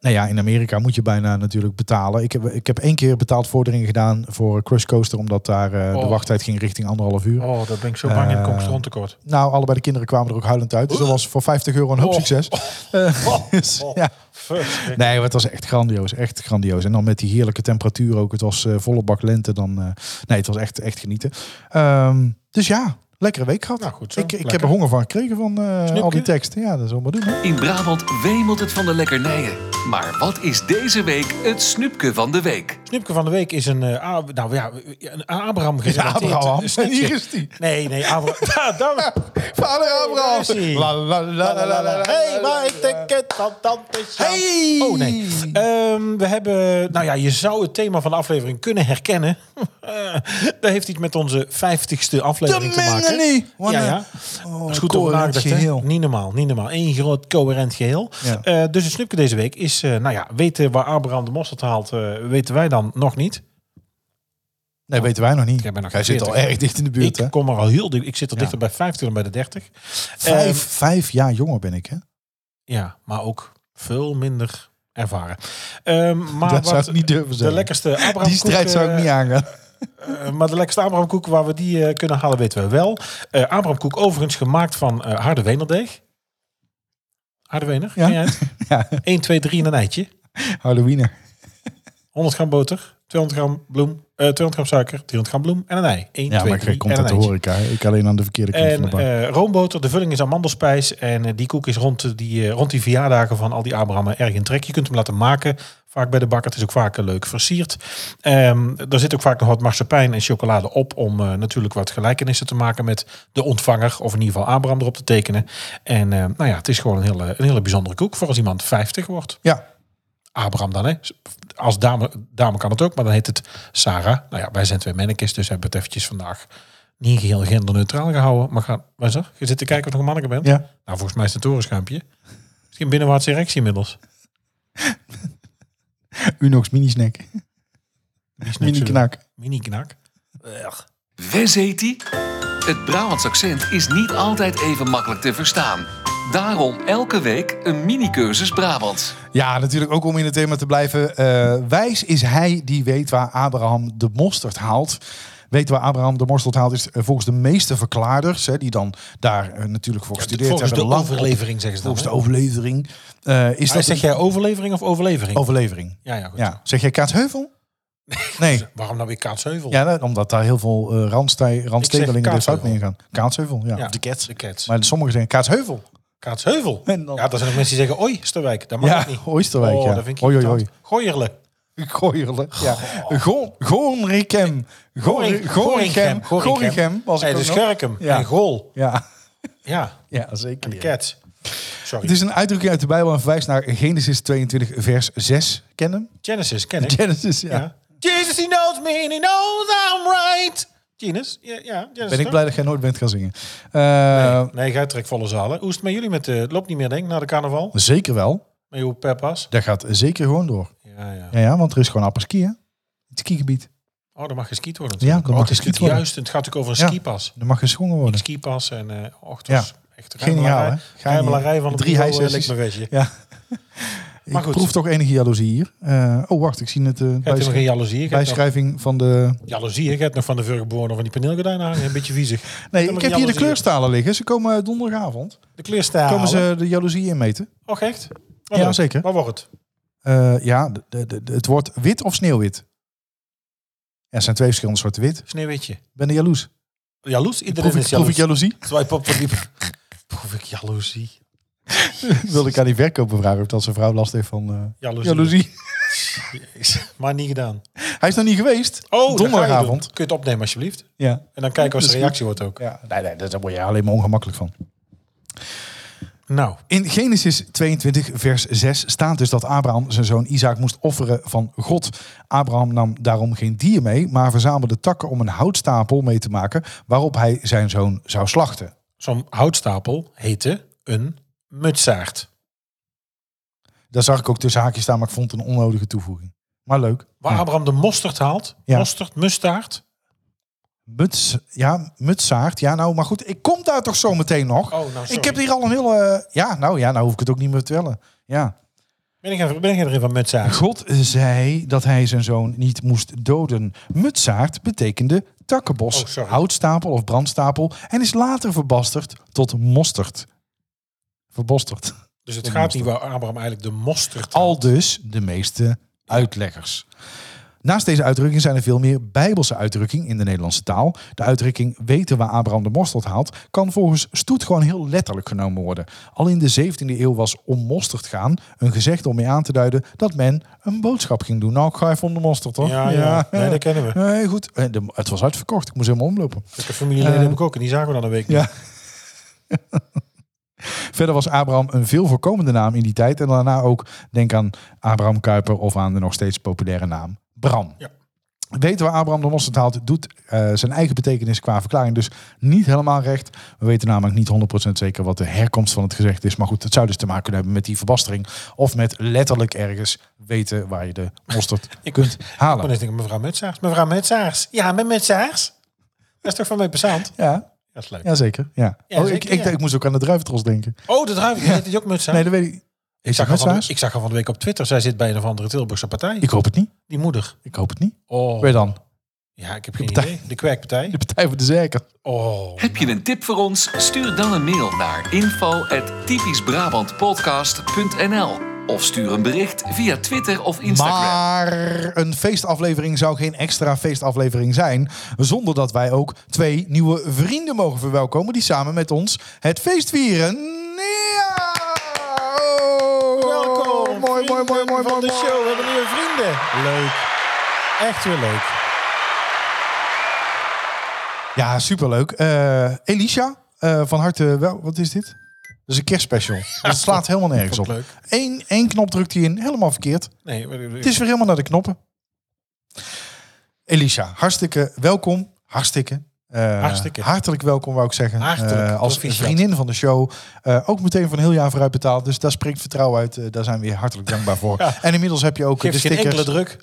nou ja, in Amerika moet je bijna natuurlijk betalen. Ik heb, ik heb één keer betaald vorderingen gedaan voor Crush Coaster, omdat daar eh, de Oh. wachttijd ging richting anderhalf uur. Oh, daar ben ik zo bang in. Eh, Dan kom ik stront tekort. Nou, allebei de kinderen kwamen er ook huilend uit. Dus dat was voor 50 euro een hoop Oh. succes. <laughs> Eh, dus, Oh. ja. Fuck. Nee, maar het was echt grandioos. Echt grandioos. En dan met die heerlijke temperatuur ook. Het was eh, volle bak lente. Dan, eh, nee, het was echt, echt genieten. Ehm, dus ja, lekkere week gehad. Nou, goed zo. ik, ik heb Lekker. er honger van gekregen van eh, al die teksten. Ja, dat is maar doen. Hè? In Brabant wemelt het van de lekkernijen. Maar wat is deze week het snoepje van de week? <laughs> Snipke van de week is een, eh, Ab- nou ja, een Abraham Ja, gerelateerd. Abraham. eh, En <laughs> snipje. hier is die. Nee, nee, <laughs> Abraham. daar, daar- Vader daar Abraham. is hij. La, la, la, la, la, la. Hey, maar ik denk het van tante Sjaan. Hey! Oh nee. Ehm, we hebben, nou ja, je zou het thema van de aflevering kunnen herkennen. <laughs> dat heeft iets met onze 50ste aflevering De te maken. Mengele. Wat Ja, een- ja. Oh, Dat is goed over coherent nagedacht, hè? geheel. Niet normaal, niet normaal. Eén groot coherent geheel. Ja. Eh, dus het snoepje deze week is, eh, nou ja, weten waar Abraham de mosterd haalt, eh, weten wij dan nog niet. Nee, weten wij nog niet. Jij bent nog Jij zit 40. al erg dicht in de buurt, hè? Ik kom er al heel dik. Ik zit er dichter bij 50 dan bij de 30. Vijf, Ehm, vijf jaar jonger ben ik, hè? ja, maar ook veel minder ervaren. Ehm, maar dat wat zou ik niet durven de eh, zeggen. lekkerste Abraham eh, Die strijd zou ik niet aangaan. maar de lekkerste Abrahamkoek waar we die eh, kunnen halen weten we wel. Eh Abrahamkoek overigens gemaakt van eh harde wenerdeeg. Harde wener, Ja. ken jij het? <laughs> Ja, 1, 2, 3 en een eitje. Halloween. 100 gram boter, 200 gram bloem, eh, 200 gram suiker, 300 gram bloem en een ei. 1, Ja, 2, maar 3 ik komt en uit de een eitje. horeca. hè. Ik alleen aan de verkeerde kant van de En bar. eh, roomboter, de vulling is amandelspijs. En eh, die koek is rond de- die, eh, rond die verjaardagen van al die Abrahammen erg in trek. Je kunt hem laten maken, vaak bij de bakker. Het is ook vaak eh, leuk versierd. Ehm er zit ook vaak nog wat marsepein en chocolade op... om eh, natuurlijk wat gelijkenissen te maken met de ontvanger... of in ieder geval Abraham erop te tekenen. En eh, nou ja, het is gewoon een hele, een hele bijzondere koek... voor als iemand 50 wordt. ja, Abraham dan, hè? Als dame, dame kan het ook, maar dan heet het Sarah. Nou ja, wij zijn twee mannetjes, dus hebben het eventjes vandaag niet heel genderneutraal gehouden. Maar ga, wat is dat? Je zit te kijken of je nog een manneke bent? ja. Nou, volgens mij is het een torenschuimpje. Misschien binnenwaartse erectie inmiddels. Unox mini-snack. Mini-knak. Mini-knak. Wes heet die? Het Brabants accent is niet altijd even makkelijk te verstaan. Daarom elke week een mini-cursus Brabants. Ja, natuurlijk ook om in het thema te blijven. eh, wijs is hij die weet waar Abraham de mosterd haalt. Weet waar Abraham de mosterd haalt is eh, volgens de meeste verklaarders... Hè, die dan daar eh, natuurlijk voor gestudeerd volgens de hebben. lang op- overlevering zeggen ze dan. Volgens de hè? overlevering. eh, is Maar dat zeg een jij overlevering of overlevering? overlevering? ja, ja, goed. Ja. Zeg jij <laughs> Kaatsheuvel? Nee. Waarom nou weer kaatsheuvel? Ja, nou, omdat daar heel veel eh randstij, randstedelingen de fout Kaatsheuvel. mee gaan. Kaatsheuvel, ja. Ja, De cats. De cats. Maar sommigen zeggen Kaatsheuvel. Kaatsheuvel. En dan- Ja, dat zijn ook mensen die zeggen, oi, Sterwijk. Dat mag Ja, ook niet. Oosterwijk, oh, ja. Dat vind ik Oi, oi, irritant. Gooierle. Gooierle. Ja. Go- Goornrichem. Goor- Goring- Goringhem. Goringhem was Nee, ik de ook nog. Scherkem Ja. en Gol. Ja, Ja, ja en de zeker. Cats. Sorry. Het is een uitdrukking uit de Bijbel en verwijst naar Genesis 22 vers 6. Ken hem? <laughs> Genesis ken ik. Genesis, ja. ja. Jesus, he knows me and he knows I'm right. Genesis? Ja, ja Genesis. Ben ik toch? blij dat jij nooit bent gaan zingen. Eh, Nee, nee jij trekt volle zalen. Hoe is het met jullie? Met, eh, het loopt niet meer, denk ik, na de carnaval. Zeker wel. Met uw peppas. Dat gaat zeker gewoon door. Ja, ja. Ja, ja want er is gewoon apperski, hè? Het skigebied. Oh, dan mag geskiet worden. Ja, natuurlijk. dan Oh, mag het is geskiet natuurlijk worden. juist. Het gaat ook over een Ja. skipas. Er mag geschongen Een worden. skipas en eh och, Ja. ja. echt Geniaal, hè? ruimelarij- Ga je ruimelarij van niet. het Drie niveau, eh, hijsessies. ligt me wegje. Ja. Maar Ik goed, proef je toch enige jaloezie hier. Eh, oh, wacht. Ik zie het eh hebt helemaal geen bijschrij- jaloezie. Je hebt nog- bijschrijving van de... Jaloezie, ik heb nog van de Vurgenborne van die paneelgordijnen hangen. Een beetje viezig. Nee, nog ik heb hier de jaloezie. kleurstalen liggen. Ze komen eh, donderdagavond. De kleurstijl. Komen ze de jaloezie inmeten? Och, echt? Ja, leuk. zeker. Wat wordt het? Eh, ja, de, de, de- het wordt wit of sneeuwwit. Ja, het zijn twee verschillende soorten wit. Sneeuwwitje. Ik ben je jaloers. Jaloers? Iedereen Proef ik, is proef ik jaloers. jaloezie? <laughs> Swipe op van die... Proef ik jaloezie. Wilde ik aan die verkoper vragen of dat zijn vrouw last heeft van eh, Jaloezie. jaloezie. Jezus, Maar niet gedaan. Hij is nog niet geweest. Oh, dat ga je Donderdagavond. doen. Kun je het opnemen alsjeblieft? Ja. En dan kijken wat Dat de is reactie wordt ook. ja. Nee, nee, daar word je alleen maar ongemakkelijk van. Nou, In Genesis 22, vers 6 staat dus dat Abraham zijn zoon Isaac moest offeren van God. Abraham nam daarom geen dier mee, maar verzamelde takken om een houtstapel mee te maken waarop hij zijn zoon zou slachten. zo'n houtstapel heette een mutsaard. Daar zag ik ook tussen haakjes staan, maar ik vond het een onnodige toevoeging. Maar leuk. Waar Ja. Abraham de mosterd haalt. Ja. Mosterd, mustaard. Muts, ja, mutsaard. Ja, nou, maar goed, ik kom daar toch zo meteen nog. Oh, nou sorry. ik heb hier al een hele... Ja, nou ja, nou hoef ik het ook niet meer te vertellen. Ja. Ben ik, even- ben ik erin van mutsaard? God zei dat hij zijn zoon niet moest doden. Mutsaard betekende takkenbos, Oh, sorry. houtstapel of brandstapel en is later verbasterd tot mosterd. Verbosterd. Dus het gaat niet waar Abraham eigenlijk de mosterd Al dus de meeste uitleggers. Naast deze uitdrukking zijn er veel meer Bijbelse uitdrukkingen in de Nederlandse taal. De uitdrukking weten waar Abraham de mosterd haalt kan volgens Stoet gewoon heel letterlijk genomen worden. Al in de 17e eeuw was om mosterd gaan een gezegde om mee aan te duiden dat men een boodschap ging doen. Nou, ik ga even om de mosterd toch? Ja, ja. Nee, dat kennen we. Nee, goed. Eh, de- Het was uitverkocht. Ik moest helemaal omlopen. Zulke Dus familieleden Eh. heb ik ook en die zagen we dan een week. Ja. Verder was Abraham een veel voorkomende naam in die tijd. En daarna ook, denk aan Abraham Kuiper of aan de nog steeds populaire naam Bram. Ja. weten waar Abraham de Mosterd haalt, doet eh, zijn eigen betekenis qua verklaring dus niet helemaal recht. We weten namelijk niet 100% zeker wat de herkomst van het gezegd is. Maar goed, het zou dus te maken kunnen hebben met die verbastering. Of met letterlijk ergens weten waar je de mosterd <laughs> kunt Dan halen. is denk mevrouw Metsaars. Mevrouw Metsaars. Ja, met Metsaars. Dat is toch van mij passant? Ja, Dat is leuk. ja zeker. Ja. Ja, oh, ik, zeker, ik, ja. ik moest ook aan de druiventros denken. Oh, de druif. Ja. Die ook Metsaars. Nee, dat weet ik. ik, Is zag dat haar van de, Metsaars? ik zag haar van de week op Twitter. Zij zit bij een of andere Tilburgse partij. Ik hoop het niet. Die moeder. Ik hoop het niet. Oh. Weer dan. Ja, ik heb geen partij. idee. De kwerkpartij. De Partij voor de Zeker. Oh. Heb je een tip voor ons? Stuur dan een mail naar info@typischbrabantpodcast.nl of stuur een bericht via Twitter of Instagram. Maar een feestaflevering zou geen extra feestaflevering zijn zonder dat wij ook twee nieuwe vrienden mogen verwelkomen die samen met ons het feest vieren. Ja! Oh, Welkom. Mooi, mooi, mooi, vrienden mooi, van mooi. de mooi. show. We hebben nieuwe vrienden. Leuk. Echt weer leuk. Ja, superleuk. Eh Elisha, eh, van harte wel. Wat is dit? Dat is een kerstspecial. Dat slaat helemaal nergens vond op. ik leuk. Eén, één knop drukt hij in, helemaal verkeerd. Nee, maar- Het is weer helemaal naar de knoppen. Elisha, hartstikke welkom. Hartstikke. eh, Hartstikke. Hartelijk welkom, wou ik zeggen. Hartelijk, Eh, als proficiat. vriendin van de show. Eh, ook meteen van een heel jaar vooruit betaald. Dus daar springt vertrouwen uit. Eh, daar zijn we je hartelijk dankbaar <laughs> voor. Ja. En inmiddels heb je ook eh, Geeft de geen stickers. enkele druk. <laughs>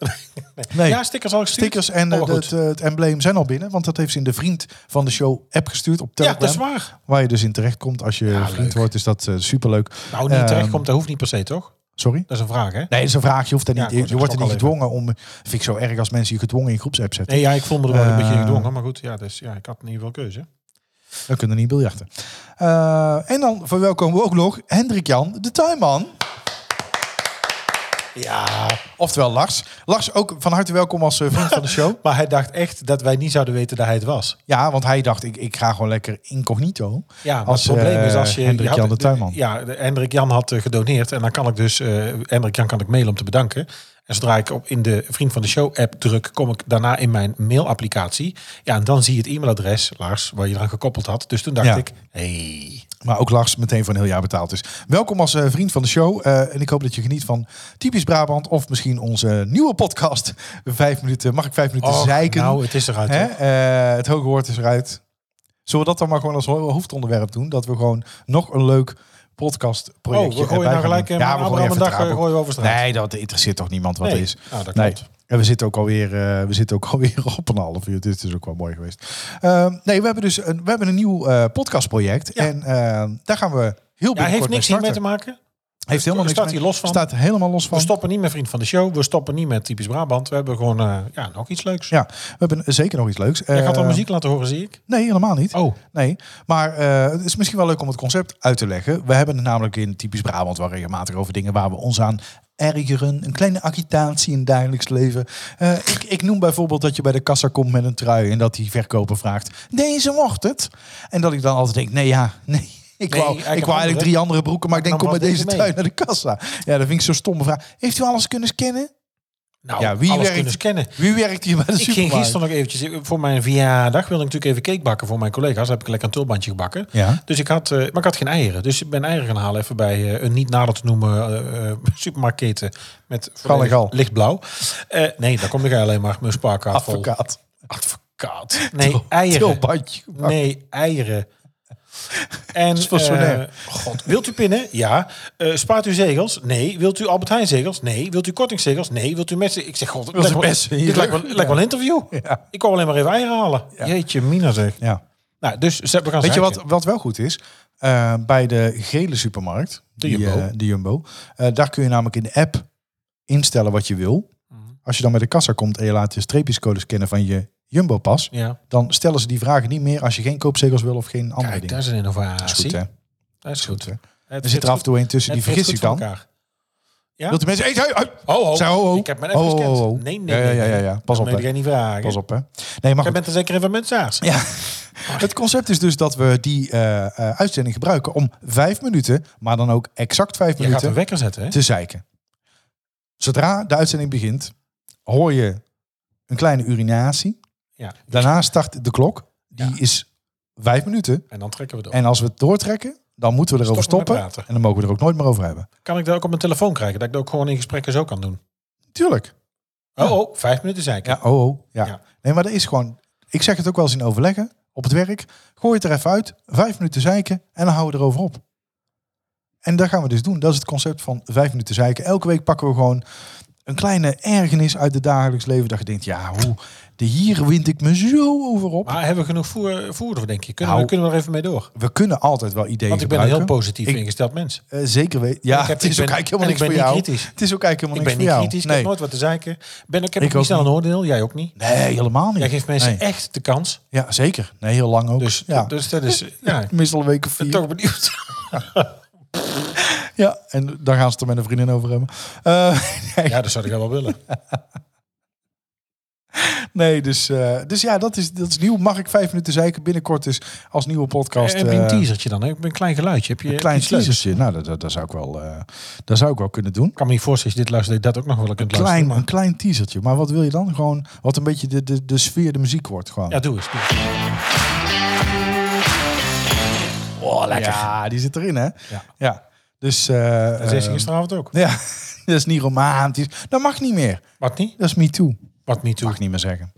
Nee. Ja, stickers al gestuurd. stickers en Oh, eh, goed. het, eh, het embleem zijn al binnen. Want dat heeft ze in de vriend van de show app gestuurd op Ja, Telegram. dat is waar. Waar je dus in terecht komt als je vriend leuk. wordt. Dus dat is superleuk. Nou, niet terecht Ehm, komt, dat hoeft niet per se, toch? Sorry? Dat is een vraag, hè? Nee, dat is een vraag. Je hoeft er Ja, niet, goed, je dat wordt is er niet ook al gedwongen om. Vind ik zo erg als mensen je gedwongen in groepsapp zetten. Nee, ja, ik voel me er wel een Eh, beetje in gedwongen. Maar goed, ja, dus, ja, ik had in ieder geval keuze. We kunnen niet biljarten. Eh, en dan verwelkomen we ook nog Hendrik Jan, de tuinman. Ja. Oftewel Lars. Lars, ook van harte welkom als eh, vriend van de show. Maar hij dacht echt dat wij niet zouden weten dat hij het was. Ja, want hij dacht, ik, ik ga gewoon lekker incognito. Ja, maar Als, het probleem is als je... eh, Hendrik je had- Jan de Tuinman. Ja, de- Hendrik Jan had eh, gedoneerd. En dan kan ik dus... eh Hendrik Jan kan ik mailen om te bedanken. En zodra ik op in de Vriend van de Show app druk... kom ik daarna in mijn mailapplicatie. Ja, en dan zie je het e-mailadres, Lars, waar je eraan gekoppeld had. Dus toen dacht Ja. ik... Hey. Maar ook Lars meteen voor een heel jaar betaald. Dus welkom als eh, vriend van de show. Eh, en ik hoop dat je geniet van Typisch Brabant. Of misschien onze nieuwe podcast. Vijf minuten. Mag ik vijf minuten Och, zeiken? nou, het is eruit. Hè? hè? Eh, het hoge woord is eruit. Zullen we dat dan maar gewoon als ho- hoofdonderwerp doen? Dat we gewoon nog een leuk Oh, podcastprojectje we gooien nou gelijk... eh, maar gewoon Abraham een dag eh, gooien we over straat. Nee, dat interesseert toch niemand wat Nee. er is. Nou, dat nee. klopt. En we zitten ook alweer, eh, we zitten ook <laughs> alweer op een half uur. Dit is ook wel mooi geweest. Ehm, nee, we hebben dus een, we hebben een nieuw eh, podcastproject. Ja. En ehm, daar gaan we heel Ja, binnenkort heeft niks mee hiermee te starten. maken. Heeft helemaal niks staat mee- hier los van. Staat helemaal los van. We stoppen niet met Vriend van de Show. We stoppen niet met Typisch Brabant. We hebben gewoon eh, ja, nog iets leuks. Ja, we hebben zeker nog iets leuks. Jij gaat al Ehm, muziek laten horen, zie ik. Nee, helemaal niet. Oh, Nee, maar eh, het is misschien wel leuk om het concept uit te leggen. We hebben het namelijk in typisch Brabant wel regelmatig over dingen waar we ons aan ergeren. Een kleine agitatie in het dagelijks leven. Eh, ik, ik noem bijvoorbeeld dat je bij de kassa komt met een trui en dat die verkoper vraagt, deze wordt het? En dat ik dan altijd denk, nee ja, <laughs> nee. Ik Nee, wou, eigenlijk ik wou eigenlijk andere. drie andere broeken, maar ik denk, nam kom met wel deze deze trui naar de kassa. Ja, dat vind ik zo'n stomme vraag. Heeft u alles kunnen scannen? nou, Ja, wie alles werkt- kunnen scannen. Wie werkt hier bij de Ik ging supermarkt? gisteren nog eventjes... Voor mijn verjaardag wilde ik natuurlijk even cake bakken voor mijn collega's. Daar heb ik lekker een tulbandje gebakken. Ja. Dus ik had, eh, maar ik had geen eieren. Dus ik ben eieren gaan halen even bij eh, een niet nader te noemen eh, <laughs> eh, supermarktketen. Met volledig gal. lichtblauw. Eh, nee, daar kom ik alleen maar. Mijn spaarkaart vol. Advocaat. Advocaat. Nee, Til- eieren. tilbandje. Nee, eieren. En, is voor eh, Sonair. God, wilt u pinnen? Ja. Eh, spaart u zegels? Nee. Wilt u Albert Heijn zegels? Nee. Wilt u kortingzegels? Nee. Wilt u messen? Ik zeg, god, het Wilt u lijkt wel, messen in je dit lijkt wel, rug? lijkt wel een interview. Ja. Ik wou alleen maar even eieren halen. Jeetje, mina zeg. Ja. Nou, dus ze, we gaan Weet je zeiken. wat, wat wel goed is? Eh, bij de gele supermarkt, De die, Jumbo. eh, de Jumbo eh, daar kun je namelijk in de app instellen wat je wil. Mhm. Als je dan bij de kassa komt en je laat je streepjescodes scannen van je Jumbo-pas, Ja. dan stellen ze die vragen niet meer als je geen koopzegels wil of geen andere Kijk, dat dingen. is een innovatie. Dat is goed, hè? Dat is goed. hè? Het Er zit er af en toe een tussen, die het zit vergis ik goed voor dan. elkaar. Ja? Wilt de mensen... Hey, hey, hey, Oh, oh. Zeg, ho, ho. Ik heb mijn app Ho, ho, gescand. ho, ho. Nee, nee, oh. Ja, ja, nee, ja, ja, nee. ja. Pas Dat op, moet hè. ik jij niet vragen. Pas op, hè? Nee, maar Jij goed. bent er zeker even met Saars. Ja. <laughs> Het concept is dus dat we die eh, eh, uitzending gebruiken om vijf minuten, maar dan ook exact vijf Je gaat minuten, een wekker zetten, hè? te zeiken. Zodra de uitzending begint, hoor je een kleine urinatie. Ja. Daarna start de klok. Die Ja. is vijf minuten. En dan trekken we door. En als we het doortrekken, dan moeten we erover Stoppen stoppen. met praten. En dan mogen we er ook nooit meer over hebben. Kan ik dat ook op mijn telefoon krijgen? Dat ik dat ook gewoon in gesprekken zo kan doen? Tuurlijk. Oh, oh, vijf minuten zijn. Ja, oh, oh ja. Ja. Nee, maar dat is gewoon... Ik zeg het ook wel eens in overleggen, op het werk. Gooi het er even uit, vijf minuten zeiken en dan houden we erover op. En dat gaan we dus doen. Dat is het concept van vijf minuten zeiken. Elke week pakken we gewoon een kleine ergernis uit het dagelijks leven. Dat je denkt, ja, hoe, de hier wind ik me zo over op. Maar hebben we genoeg voer, voer voor, denk je? Kunnen, Nou, we, kunnen we er even mee door? we kunnen altijd wel ideeën Want ik ben een heel gebruiken. positief Ik- ingesteld mens. Eh, zeker weten. Ja, Ik heb- <laughs> het is ik ben- ook eigenlijk helemaal en niks ik ben voor niet jou. kritisch. Het is ook eigenlijk helemaal niks Ik ben voor niet jou. kritisch, ik heb nooit wat te zeiken. Ben, ook- ik heb Ik ook niet ook snel een oordeel, jij ook niet. nee. nee, helemaal niet. Jij geeft mensen Nee. echt de kans. Ja, zeker. Nee, heel lang ook. Dus, ja. dus dat is... <laughs> Ja, ik Meestal een week of ben vier. toch <laughs> benieuwd. Ja, en daar gaan ze het er met een vriendin over hebben. Eh, <laughs> Ja, dat zou ik wel willen. nee, dus, eh, dus ja, dat is, dat is nieuw. Mag ik vijf minuten zeiken binnenkort dus <laughs> als nieuwe podcast? Heb je een eh, teasertje dan? Heb je een klein geluidje? Heb je een klein iets leuks? teasertje. Nou, dat, dat, dat zou ik wel, eh, dat zou ik wel kunnen doen. Ik kan me niet voorstellen, als je dit luistert, dat je dat ook nog wel kunt Klein, luisteren. een klein teasertje. Maar wat wil je dan? Gewoon wat een beetje de, de, de sfeer, de muziek wordt gewoon. maar- Ja, doe eens. doe eens. oh, lekker. Ja, die zit erin, hè? Ja. ja. Dus... eh, Dat is eh, gisteravond ook. ja, <laughs> dat is niet romantisch. Dat mag niet meer. Wat niet? Dat is me too. Wat niet toe? Mag niet meer zeggen.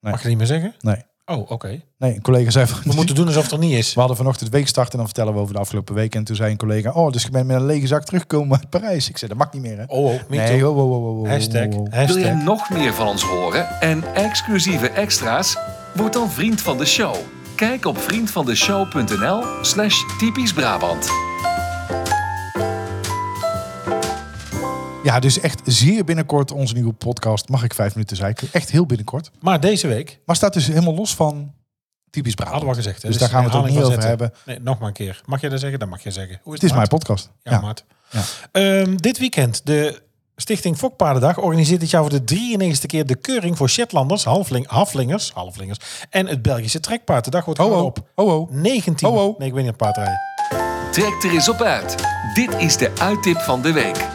Mag je niet meer zeggen? Nee. Oh, oké. Nee, een collega zei van... We moeten doen alsof het er niet is. We hadden vanochtend weekstart en dan vertellen we over de afgelopen week. En toen zei een collega, oh, dus ik ben met een lege zak teruggekomen uit Parijs. Ik zei, dat mag niet meer, hè? Oh, oh, me nee, too. wow, wow, wow, wow, wow, Hashtag. wow, wow. Wil je Hashtag. nog meer van ons horen en exclusieve extra's? Word dan vriend van de show. Kijk op vriendvandeshow.nl slash typisch Brabant. Ja, dus echt zeer binnenkort onze nieuwe podcast. Mag ik vijf minuten zeiken? Echt heel binnenkort. Maar deze week Maar staat dus helemaal los van typisch hadden Brabant. we al gezegd. Hè? Dus daar gaan we het ook niet herhaling over van hebben. zetten. Nee, nog maar een keer. Mag jij dat zeggen? Dat mag jij zeggen. Hoe Het is mijn Maart? podcast. Ja, Ja, Maart. Ehm, dit weekend, de Stichting Fokpaardendag organiseert dit jaar voor de 93 keer de keuring voor Shetlanders, halfling, halflingers, halflingers en het Belgische trekpaard. De dag wordt Oh, gewoon oh, op. oh, oh. 19. Oh, oh. Nee, ik weet niet aan paardrijden. Trek er eens op uit. Dit is de uittip van de week.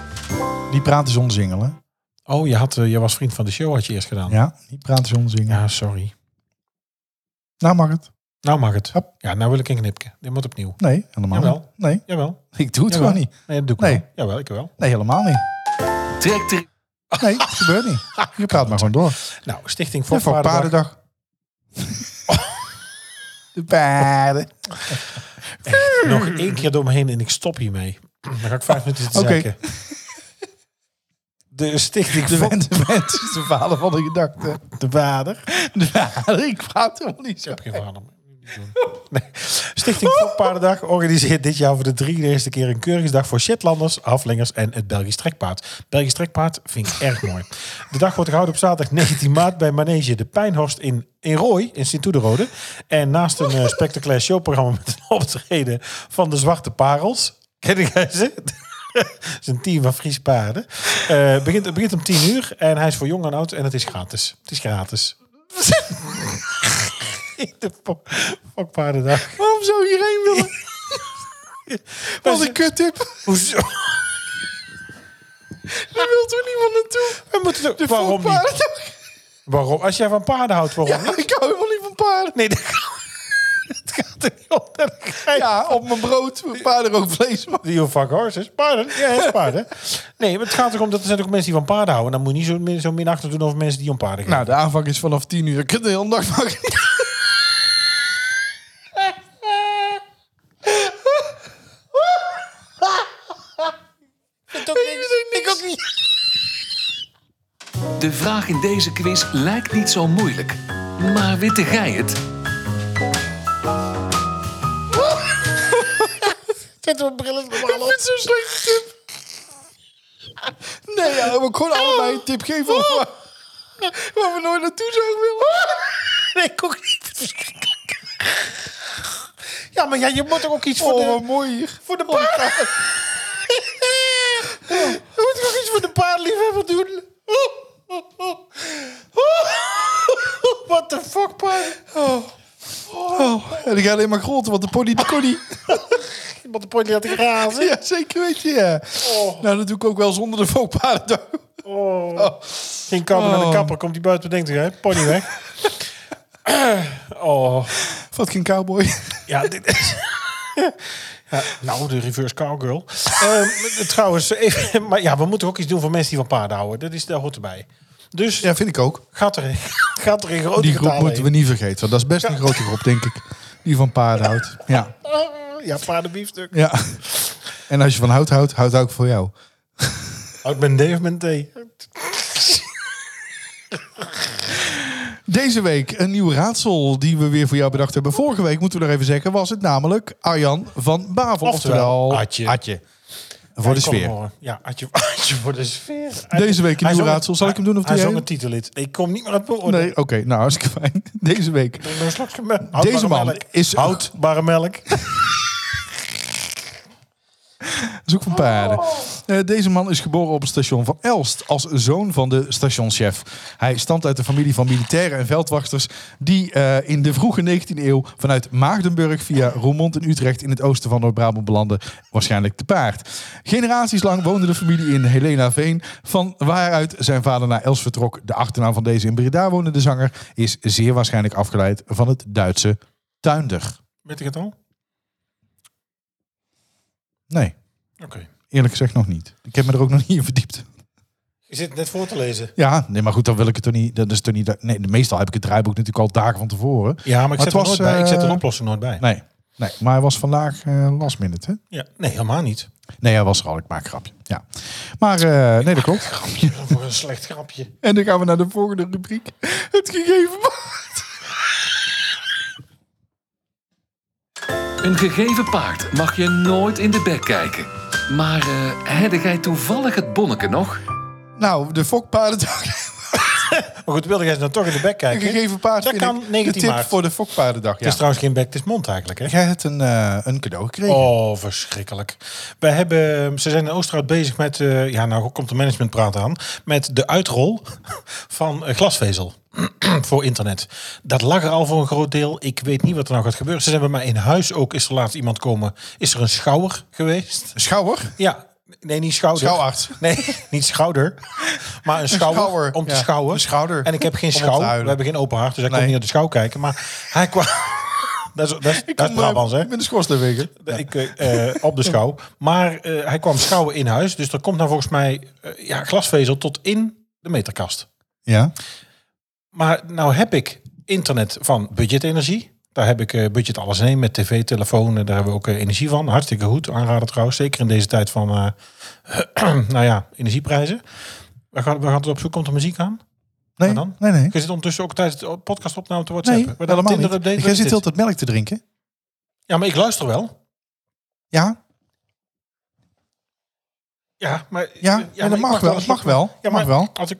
Die praten zonder zingelen. Oh, je, had, eh, je was vriend van de show, had je eerst gedaan. Ja, Ja, die praten zonder zingelen. sorry. Nou mag het. Nou mag het. Hop. Ja, nou wil ik een knipje. Dit moet opnieuw. Nee, helemaal Jawel. niet. Nee, Jawel. ik doe het Jawel. gewoon niet. Nee, dat doe ik Nee. wel. Jawel, ik wel. Nee, helemaal niet. Trek er <laughs> Nee, het gebeurt niet. Je praat maar gewoon door. Nou, Stichting De voor Fokpaardendag. paardendag. <laughs> De paarden. Nog één keer door me heen en ik stop hiermee. Dan ga ik vijf minuten te Oké. zeggen. <laughs> De stichting De Fok- wens, de wens is de vader van de gedachte. de vader. De vader, ik praat helemaal niet zo. Ik heb geen vader. Niet doen. Eh. <laughs> Nee. Stichting Fokpaardendag organiseert dit jaar voor de 33e keer een keuringsdag voor Shetlanders, Haflingers en het Belgisch trekpaard. Belgisch trekpaard vind ik erg mooi. De dag wordt gehouden op zaterdag 19 maart bij Manege de Pijnhorst in, in Rooi, in Sint-Oederode. En naast een eh, spectaculair showprogramma met een optreden van de Zwarte Parels. Ken jij <laughs> ze? Het is een team van Fries paarden. Eh, begint, het begint om 10 uur en hij is voor jong en oud en het is gratis. Het is gratis. <laughs> de fok- fokpaardendag. Waarom zou hierheen <laughs> willen? Wat een <laughs> kuttip. Hoezo? Daar wil toch niemand naartoe? We moeten toch- De waarom niet? voorpaardendag. Waarom? Als jij van paarden houdt, waarom niet? Ja, ik hou helemaal niet van paarden. Nee, dat gaat, het gaat er niet om. Dat ga je- Ja, op mijn brood paardenrookvlees. maar- Do you fuck horses? Paarden? Ja, het is <laughs> paarden. Nee, maar het gaat erom dat er zijn ook mensen die van paarden houden. Dan moet je niet zo, min- zo min achter doen over mensen die om paarden gaan. Nou, de aanvang is vanaf 10 uur. Ik kan de hele dag maken. ik ook niet. De vraag in deze quiz lijkt niet zo moeilijk. Maar witte jij het? Zet mijn brillen normaal op. Ik vind het zo'n slechte tip. Nee, ja, we konden allebei een tip geven over waar, waar we nooit naartoe zouden willen. Nee, ik ook niet. Verschrikkelijk. Ja, maar ja, je moet toch ook iets voor Oh, de... wat mooi hier. Voor de paarden. <laughs> Je moet toch iets voor de paardenliefhebber doen? <laughs> What the fuck, paard? Oh, en ik ga alleen maar grotten, want de pony die kon <laughs> niet. Iemand de pony laten grazen. Ja, zeker weet je, ja. Oh. Nou, dat doe ik ook wel zonder de fokpaarden. Oh. Geen kapper naar de Oh. kapper. Komt die buiten bedenkt hij, hè? Pony <laughs> weg. <coughs> oh. Fucking cowboy. Ja, dit is... <laughs> Ja, nou, de reverse cowgirl. <laughs> Ehm, trouwens, even, maar ja, we moeten ook iets doen voor mensen die van paarden houden. Dat, is, dat hoort erbij. Dus Ja, vind ik ook. gaat, er, gaat er in <laughs> grote Die groep getalen moeten we heen. niet vergeten. want Dat is best een grote groep, denk ik. Die van paarden houdt. Ja. Ah, Ja, paardenbiefstuk. ja. En als je van hout houdt, houdt ook voor jou. Houd mijn Oh, Dave mijn thee. Deze week een nieuw raadsel die we weer voor jou bedacht hebben. Vorige week, moeten we nog even zeggen, was het namelijk Arjan van Bavel. Oftewel, Adje. Voor de Ja, ik kon sfeer. hem horen. Ja, <laughs> Adje, Adje voor de sfeer. Deze week een Hij nieuw zong- raadsel. Zal ik hem doen of hij- doe Hij jij zong een titellied. Ik kom niet meer aan het Nee, beoordelen. oké. nou, hartstikke fijn. Deze week. Nee. Deze man is- Houdbare melk. Zoek van paarden. Eh, deze man is geboren op het station van Elst als zoon van de stationschef. Hij stamt uit de familie van militairen en veldwachters die eh, in de vroege 19e eeuw vanuit Maagdenburg via Roermond en Utrecht in het oosten van Noord-Brabant belanden, waarschijnlijk te paard. Generaties lang woonde de familie in Helena Veen, van waaruit zijn vader naar Els vertrok. De achternaam van deze in Breda wonende zanger is zeer waarschijnlijk afgeleid van het Duitse tuinder. Weet ik het al? Oké. Nee, eerlijk gezegd nog niet. Ik heb me er ook nog niet in verdiept. Je zit net voor te lezen. Ja, nee, maar goed, dan wil ik het toch niet. Dat is toch niet. Nee, meestal heb ik het draaiboek natuurlijk al dagen van tevoren. Ja, maar ik Maar zet het er was, nooit bij. Ik zet er eh, oplossing nooit bij. Nee, nee maar hij was vandaag eh last minute, hè? Ja. Nee, helemaal niet. Nee, hij was er al. Ik maak een grapje. Ja. Maar eh, nee, dat <laughs> klopt. Voor een slecht grapje. En dan gaan we naar de volgende rubriek. Het gegeven paard. Een gegeven paard mag je nooit in de bek kijken. Maar eh heb jij toevallig het bonneke nog? Nou, de <laughs> fokpaardendag. <laughs> Maar goed, wilde jij ze dan toch in de bek Een kijken? gegeven paard Dat vind kan ik 19 de tip maart. voor de fokpaardendag. Het Ja. is trouwens geen bek, het is mond eigenlijk. Hè? Jij hebt een, eh, een cadeau gekregen. Oh, verschrikkelijk. Wij hebben, ze zijn in Oosterhout bezig met, eh, ja nou komt de management praat aan, met de uitrol <laughs> van eh, glasvezel <clears throat> voor internet. Dat lag er al voor een groot deel. Ik weet niet wat er nou gaat gebeuren. Ze zijn bij mij in huis ook, is er laatst iemand komen, is er een schouwer geweest? Schouwer. Ja, nee niet schouder. Schouwarts. Nee, <laughs> niet schouder, maar een schouwer, schouwer, om te ja. schouwen. Een schouder. En ik heb geen Om op te schouw, huilen. we hebben geen open hart, dus ik kon Nee. niet naar de schouw kijken. Maar hij kwam... <laughs> Dat is, dat is, dat is Kom, eh, Brabants, hè? Met een schoorsteenveger. Ik, eh, eh, op de schouw. Maar eh, hij kwam schouwen in huis. Dus er komt nou volgens mij eh, ja, glasvezel tot in de meterkast. Ja. Maar nou heb ik internet van budget energie. Daar heb ik eh, budget alles in één met tv, telefoon. eh, daar hebben we ook eh, energie van. Hartstikke goed. Aanraden trouwens. Zeker in deze tijd van eh, <clears throat> nou ja, energieprijzen. We gaan, we gaan het opzoeken. Komt er muziek aan? Nee, Maar dan? nee, nee. Je zit ondertussen ook tijdens de podcastopname te Nee, whatsappen. We dan helemaal Tinder niet. update, Jij wat is zit dit? altijd melk te drinken. Ja, maar ik luister wel. Ja, Ja, maar, Ja, maar ja, dat ik mag wel. Dat mag wel. Ja, Ja, maar mag wel. Als ik,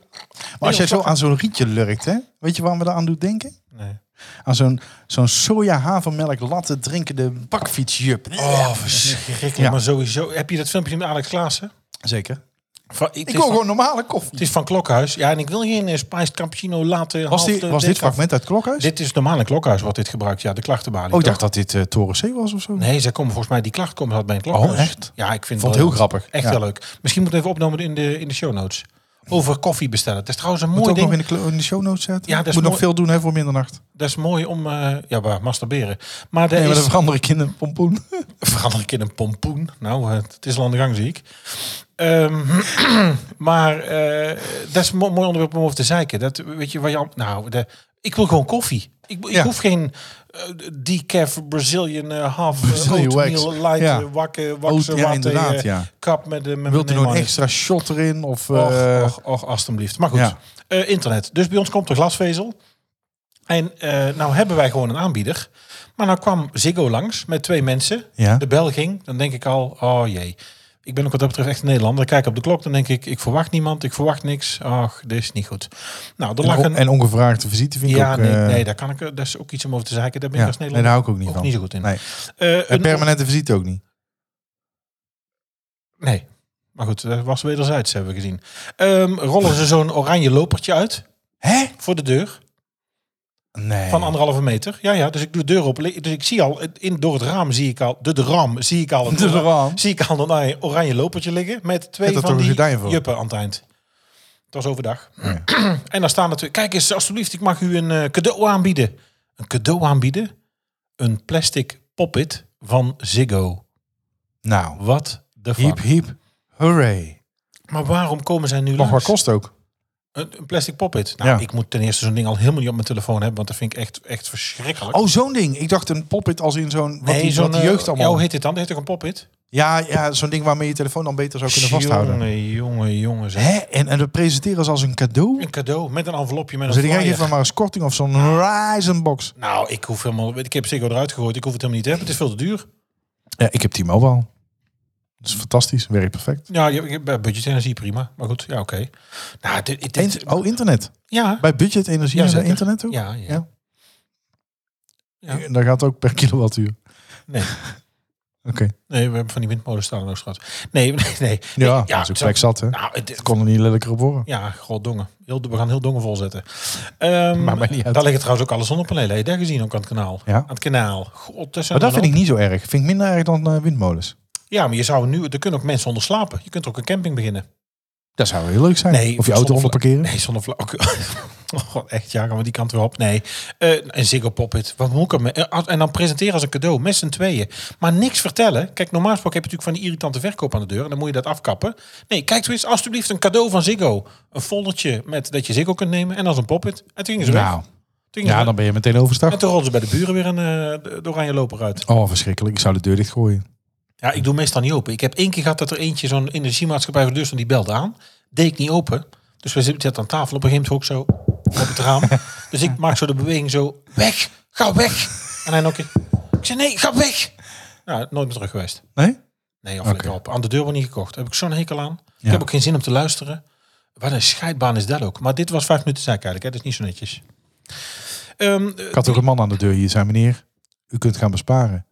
Maar als jij zo aan zo'n rietje lurkt, hè? Weet je waarom we dat aan doet denken? Nee. Aan zo'n zo'n soja havermelk latte drinkende bakfietsjup. Oh, verschrikkelijk. Ja. Maar sowieso. Heb je dat filmpje met Alex Klaassen? Zeker. Van, het, Ik is wil van, gewoon normale koffie. het is van Klokhuis. Ja, en ik wil geen eh, spiced cappuccino laten. Was, die, was dit fragment uit Klokhuis? Dit is normaal een Klokhuis wat dit gebruikt. Ja, de klachtenbalie. oh, ik toch? dacht dat dit eh, Toren C was of zo. Nee, zij komen volgens mij die klacht komt uit bij een klokhuis. Oh, echt? Ja, ik vind Vond het wel- heel grappig. Echt Ja. wel leuk. Misschien moeten we even opnemen in de, in de show notes. Over koffie bestellen. Het is trouwens een Moet mooi ook nog ding. in de, kle- in de show notes zetten. Ja, dat is Moet nog mooi. veel doen hè, voor middernacht. Dat is mooi om... eh, ja, maar masturberen. Maar er Nee, maar is... dan verander ik in een <laughs> pompoen. verander ik in een pompoen. Nou, eh, het is al aan de gang, zie ik. Ehm, <clears throat> maar eh, dat is een mo- mooi onderwerp om over te zeiken. Dat, weet je, waar je, al- nou, de, ik wil gewoon koffie. Ik, ik Ja. hoef geen eh, decaf Brazilian eh, half eh, Brazilian wax. oatmeal light Ja. eh, wakke Oat- wakse eh, ja, inderdaad, ja. kap met de met Wilt u mijn nog een man. extra shot erin? Of, eh, Och, och, och, alstublieft. Maar goed, ja. eh, internet. Dus bij ons komt er glasvezel. En eh, nou hebben wij gewoon een aanbieder. Maar nou kwam Ziggo langs met twee mensen. Ja. De bel ging. Dan denk ik al, oh jee. Ik ben ook wat dat betreft echt een Nederlander. Ik kijk op de klok, dan denk ik, ik verwacht niemand, ik verwacht niks. Ach, dit is niet goed. Nou, er lag en, een... en ongevraagde visite vind ik ja, ook... nee, eh, nee, daar kan ik, eh, dat is ook iets om over te zeiken. Daar ben ja. ik als nee, daar Nederlander hou ik ook niet ook van. niet zo goed in. Nee. Eh, En een- permanente visite ook niet. Nee. Maar goed, dat was wederzijds, hebben we gezien. Ehm, rollen ze zo'n oranje lopertje uit Hè? voor de deur. Nee. Van anderhalve meter. Ja, ja. Dus ik doe de deur op. Dus ik zie al, in, door het raam zie ik al, de, de ram zie ik <laughs> al, een, De raam. Zie ik al een oranje- oranje lopertje liggen met twee Zet er van toch een die gordijn voor? juppen aan het eind. Dat was overdag. <clears throat> en dan staan er twee. Kijk eens, alsjeblieft, ik mag u een eh, cadeau aanbieden. Een cadeau aanbieden? Een plastic poppet van Ziggo. Nou, Wat de fuck. Hiep, hiep. Hooray. Maar waarom komen zij nu Mag langs? wat kost ook. Een, een plastic poppet. Nou, Ja. ik moet ten eerste zo'n ding al helemaal niet op mijn telefoon hebben, want dat vind ik echt, echt verschrikkelijk. Oh, zo'n ding. Ik dacht een poppet als in zo'n... Wat, die, wat die eh, jeugd Ja, allemaal... hoe heet dit dan? Dat heet toch een poppet? Ja, ja zo'n ding waarmee je telefoon dan beter zou kunnen vasthouden. Jongen, jongen, jongen. zeg. Hè? En, en dat presenteren ze als een cadeau? Een cadeau met een envelopje met Dan een zeg ik, flyer. geef me maar eens korting of zo'n Horizon box. Nou, ik hoef helemaal... Ik heb zeker eruit gegooid. Ik hoef het helemaal niet te hebben. Het is veel te duur. Ja, ik heb T-Mobile. Dat is fantastisch. Werkt perfect. Ja, je, je, bij budget energie prima. Maar goed, ja, oké. Nou, dit, dit- dit- Int- oh, internet. ja, Bij budget energie Ja, en zeker. internet ook? ja, ja. Ja. Ja. En Dat gaat ook per kilowattuur. Nee. <laughs> Oké. Nee, we hebben van die windmolens staan ook, schat. Nee, <laughs> nee, nee. Ja, ja, dat is ook zo- plek zat, hè? Nou, het, Het kon er niet lelijker op worden. ja, goddongen. Heel, we gaan heel dongen volzetten. Ehm Maakt mij niet uit. Daar liggen trouwens ook alle zonnepanelen. Heb je daar gezien ook aan het kanaal? Ja. Aan het kanaal. God, dat, zijn Maar dat dan vind ik niet zo erg. Vind ik minder erg dan eh, windmolens. ook- Ja, maar je zou nu... Er kunnen ook mensen onder slapen. Je kunt er ook een camping beginnen. Dat zou heel leuk zijn. Nee, of je auto zonder- onder parkeren. Nee, zonnevla- ook <laughs> Oh, God, echt, ja, gaan we die kant weer op. Nee. Eh, een Ziggo Poppet. Wat moet ik hem... eh, als- En dan presenteren als een cadeau. Met z'n tweeën. Maar niks vertellen. Kijk, normaal gesproken heb je natuurlijk van die irritante verkoop aan de deur. En dan moet je dat afkappen. Nee, kijk toen eens alsjeblieft een cadeau van Ziggo. Een foldertje met dat je Ziggo kunt nemen. En als een Poppet. En toen gingen ze weg. nou, Toen gingen ze ja, dan ben je meteen overstag. En toen rolden ze bij de buren weer een eh, de- de oranje loper uit. Oh, verschrikkelijk. Ik zou de deur dichtgooien. Ja, ik doe meestal niet open. Ik heb één keer gehad dat er eentje zo'n energiemaatschappij voor de deur stond. Die belde aan. Deed ik niet open. Dus we zitten aan tafel op een gegeven moment ook zo op het <laughs> raam. dus ik maak zo de beweging zo. Weg! Ga weg! En hij nog een keer. Ik zei nee, ga weg! Nou, nooit meer terug geweest. Nee? Nee, of Oké. lekker op. Aan de deur wordt niet gekocht. Daar heb ik zo'n hekel aan. Ja. Ik heb ook geen zin om te luisteren. Wat een scheidbaan is dat ook. Maar dit was vijf minuten zaak eigenlijk. Hè? Dat is niet zo netjes. Ehm, eh, Ik had ook een man aan de deur hier. zei, meneer, u kunt gaan besparen.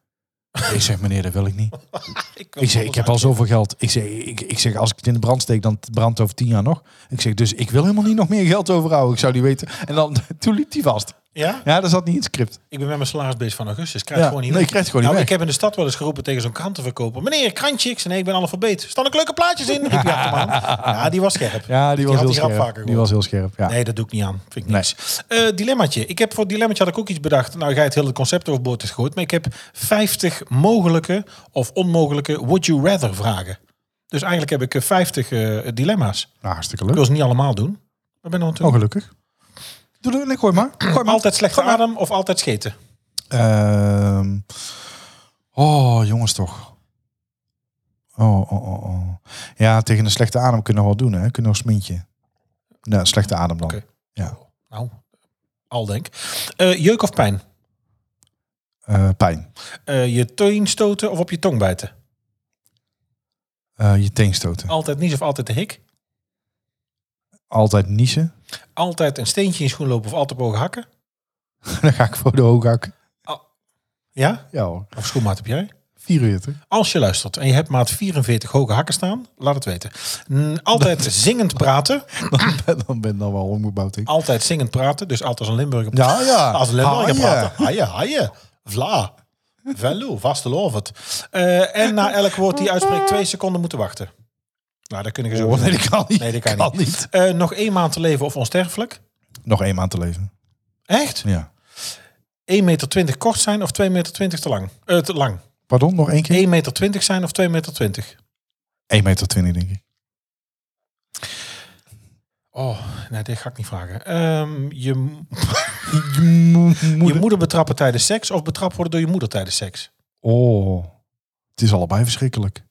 Ik zeg, meneer, dat wil ik niet. ik, Ik zeg, ik heb al zoveel geld. Ik zeg, ik, ik zeg, als ik het in de brand steek, dan brandt het over tien jaar nog. Ik zeg, dus ik wil helemaal niet nog meer geld overhouden. Ik zou die weten. En dan, <laughs> toen liep die vast. Ja? Ja, dat zat niet in het script. Ik ben met mijn salarisbeest van augustus. Ik krijg Ja, het gewoon niet nee, ik weg. krijg het gewoon nou, niet Ik weg. heb in de stad wel eens geroepen tegen zo'n krantenverkoper. Meneer, krantje. Ik zei, nee, ik ben analfabeet. Staan er leuke plaatjes in? Riep <laughs> hij achter me aan. Ja, die was scherp. Ja, die was had heel die grap scherp. vaker Die gehoord. was heel scherp, ja. Nee, dat doe ik niet aan. Vind ik Nee. niks. Eh dilemmaatje. Ik heb voor het dilemmaatje had ik ook iets bedacht. Nou, ga je het hele concept overboord heeft gegooid. Maar ik heb 50 mogelijke of onmogelijke would you rather vragen. Dus eigenlijk heb ik eh, 50 eh, dilemma's. Nou, hartstikke Ik leuk. wil ze niet allemaal doen. Maar ben er aan toe. Oh, gelukkig. Doe, doe, nee, gooi maar. Gooi maar. Altijd slechte adem of altijd scheten? Ehm, oh, jongens toch. Oh, oh, oh, oh. Ja, tegen een slechte adem kunnen we wel doen, hè. Kunnen we een smintje. Nou, slechte adem dan. Oké. Ja. Nou, al denk. Eh, jeuk of pijn? Eh, pijn. Eh, je teen stoten of op je tong bijten? Eh, je teen stoten. Altijd niezen of altijd de hik? Altijd niezen. <laughs> Altijd een steentje in je schoen lopen of altijd op hoge hakken? Dan ga ik voor de hooghak. Ja? Ja hoor. Of schoenmaat heb jij? 44. Als je luistert en je hebt maat 44 hoge hakken staan, laat het weten. Mm, <laughs> Altijd zingend praten. Dan Ah. ben, dan ben ik dan wel omgebouwd. denk ik. Altijd zingend praten. Dus altijd als een Limburger. Ja, ja. <laughs> Als een Limburger Haaien. praten. Haaien, haaien. Vla. Velo, vastelovend. Eh en na elk woord die je uitspreekt twee seconden moeten wachten. Nou, dat kun je zo. Oh, nee, dat kan niet. <laughs> Nee, dat kan niet. Eh, nog één maand te leven of onsterfelijk? Nog één maand te leven. Echt? Ja. 1,20 meter kort zijn of 2,20 meter te lang? Eh, te lang. Pardon, nog één keer? 1,20 meter zijn of 2,20 meter 1,20 meter, denk ik. Oh, nee, dit ga ik niet vragen. Ehm, je, m- Je mo- je moeder. moeder betrappen tijdens seks of betrapt worden door je moeder tijdens seks? Nou, Oh, het is allebei verschrikkelijk.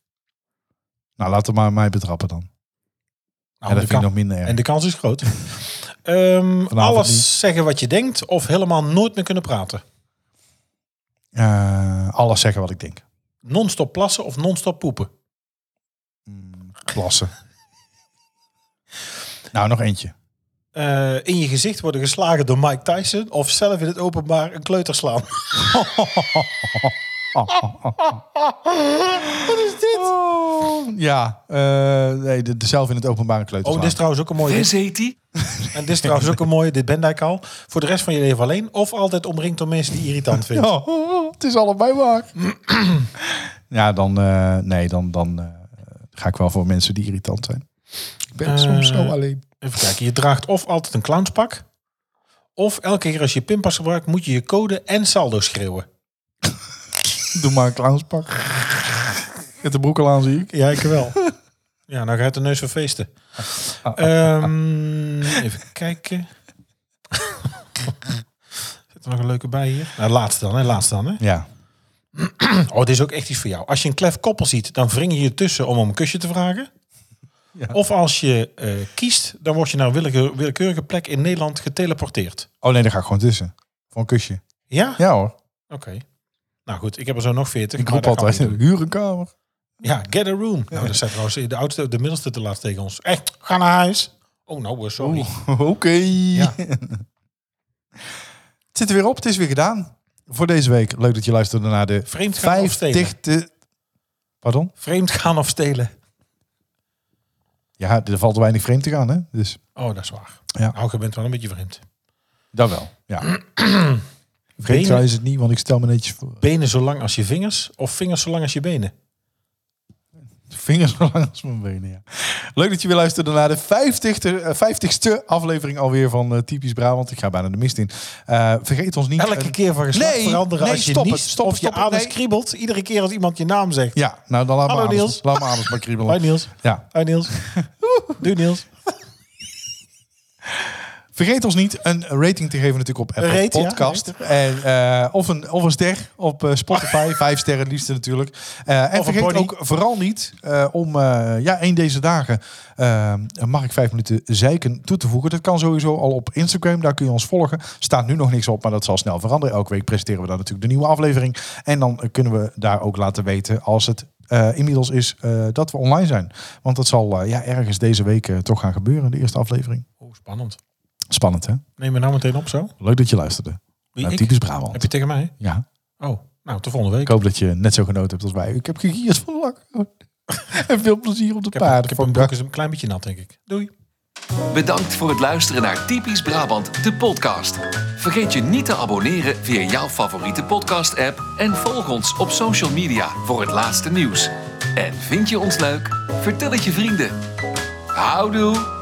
Nou, laat hem maar mij betrappen dan. Nou, ja, de dat vind ik kan- nog minder erg. en de kans is <laughs> groot. Ehm, alles niet. zeggen wat je denkt of helemaal nooit meer kunnen praten? Eh, alles zeggen wat ik denk. Non-stop plassen of non-stop poepen? <laughs> Klasse. Mm, nou, nog eentje. Eh, in je gezicht worden geslagen door Mike Tyson of zelf in het openbaar een kleuter slaan? Oh, ja, eh, nee, de, de zelf in het openbare kleuter. Oh, dit is slaan. trouwens ook een mooie. This heet die. En dit is trouwens ook een mooie, dit Bendijk al. Voor de rest van je leven alleen. Of altijd omringd door mensen die je irritant vindt. Oh, <laughs> oh, oh, het is allebei <clears throat> waar. ja, dan, eh, nee, dan, dan eh, ga ik wel voor mensen die irritant zijn. Ik ben Eh, soms zo alleen. Even kijken, je draagt of altijd een clownspak. Of elke keer als je pinpas gebruikt, moet je je code en saldo schreeuwen. <laughs> Doe maar een clownspak. Met de broek al aan, zie ik. Ja, ik wel. <laughs> Ja, nou gaat de neus van feesten. Ehm, even kijken. <laughs> Zit er nog een leuke bij hier? Nou, laatste dan, hè? Laatste dan, hè? Ja. Oh, dit is ook echt iets voor jou. Als je een klef koppel ziet, dan wring je je tussen om om een kusje te vragen. Ja. Of als je eh, kiest, dan word je naar een willeke- willekeurige plek in Nederland geteleporteerd. Oh nee, daar ga ik gewoon tussen. Voor een kusje. Ja? Ja hoor. Oké. Nou goed, ik heb er zo nog veertig. Ik roep altijd, huur een kamer. Ja, get a room. Nou, dat zei trouwens de oudste, de middelste te laatst tegen ons. Echt, ga naar huis. Oh, nou, eh, sorry. Oeh, <laughs> Oké. het zit er weer op. Het is weer gedaan. Voor deze week. Leuk dat je luisterde naar de Vreemd gaan of stelen. 50 Pardon? Vreemd gaan of stelen. Ja, er valt weinig vreemd te gaan, hè? Dus Oh, dat is waar. Ja. Nou, je bent wel een beetje vreemd. dat wel. Ja. vreemd Benen, trouwens is het niet, want ik stel me netjes voor. benen zo lang als je vingers of vingers zo lang als je benen? Vingers zo lang als mijn benen, ja. Leuk dat je weer luisterde naar de 50ste, 50ste aflevering alweer van eh, Typisch Brabant. Ik ga bijna de mist in. Eh, vergeet ons niet... Elke eh, keer van geslacht nee, veranderen nee, als je stop niet het, stop of het, je stop het, adem nee. kriebelt. Iedere keer als iemand je naam zegt. Ja, nou dan laat Hallo, maar Niels. Niels. Laat maar <laughs> Adams maar kriebelen. Hoi Niels. Ja. Hoi <laughs> Niels. Doei Niels. Vergeet ons niet een rating te geven natuurlijk op Apple Een rate, ja, Podcast. en, eh, of, een, of een ster op eh, Spotify. <laughs> Vijf sterren het liefste natuurlijk. Eh, en Of een vergeet body. ook vooral niet eh, om eh, ja, één deze dagen eh, mag ik vijf minuten zeiken toe te voegen. Dat kan sowieso al op Instagram. Daar kun je ons volgen. Staat nu nog niks op, maar dat zal snel veranderen. Elke week presenteren we dan natuurlijk de nieuwe aflevering. En dan eh, kunnen we daar ook laten weten als het eh, inmiddels is eh, dat we online zijn. Want dat zal eh, ja, ergens deze week eh, toch gaan gebeuren, de eerste aflevering. Oh, spannend. Spannend, hè? Neem me nou meteen op zo. Leuk dat je luisterde. Wie, Nou, ik? typisch Brabant. Heb je tegen mij? Ja. Oh, nou, tot volgende week. Ik hoop dat je net zo genoten hebt als wij. Ik heb gegierd van lang. <laughs> en veel plezier op de Ik heb, paarden. ik heb een vandaag. broek is een klein beetje nat, denk ik. Doei. Bedankt voor het luisteren naar Typisch Brabant, de podcast. Vergeet je niet te abonneren via jouw favoriete podcast-app en volg ons op social media voor het laatste nieuws. En vind je ons leuk? Vertel het je vrienden. Houdoe!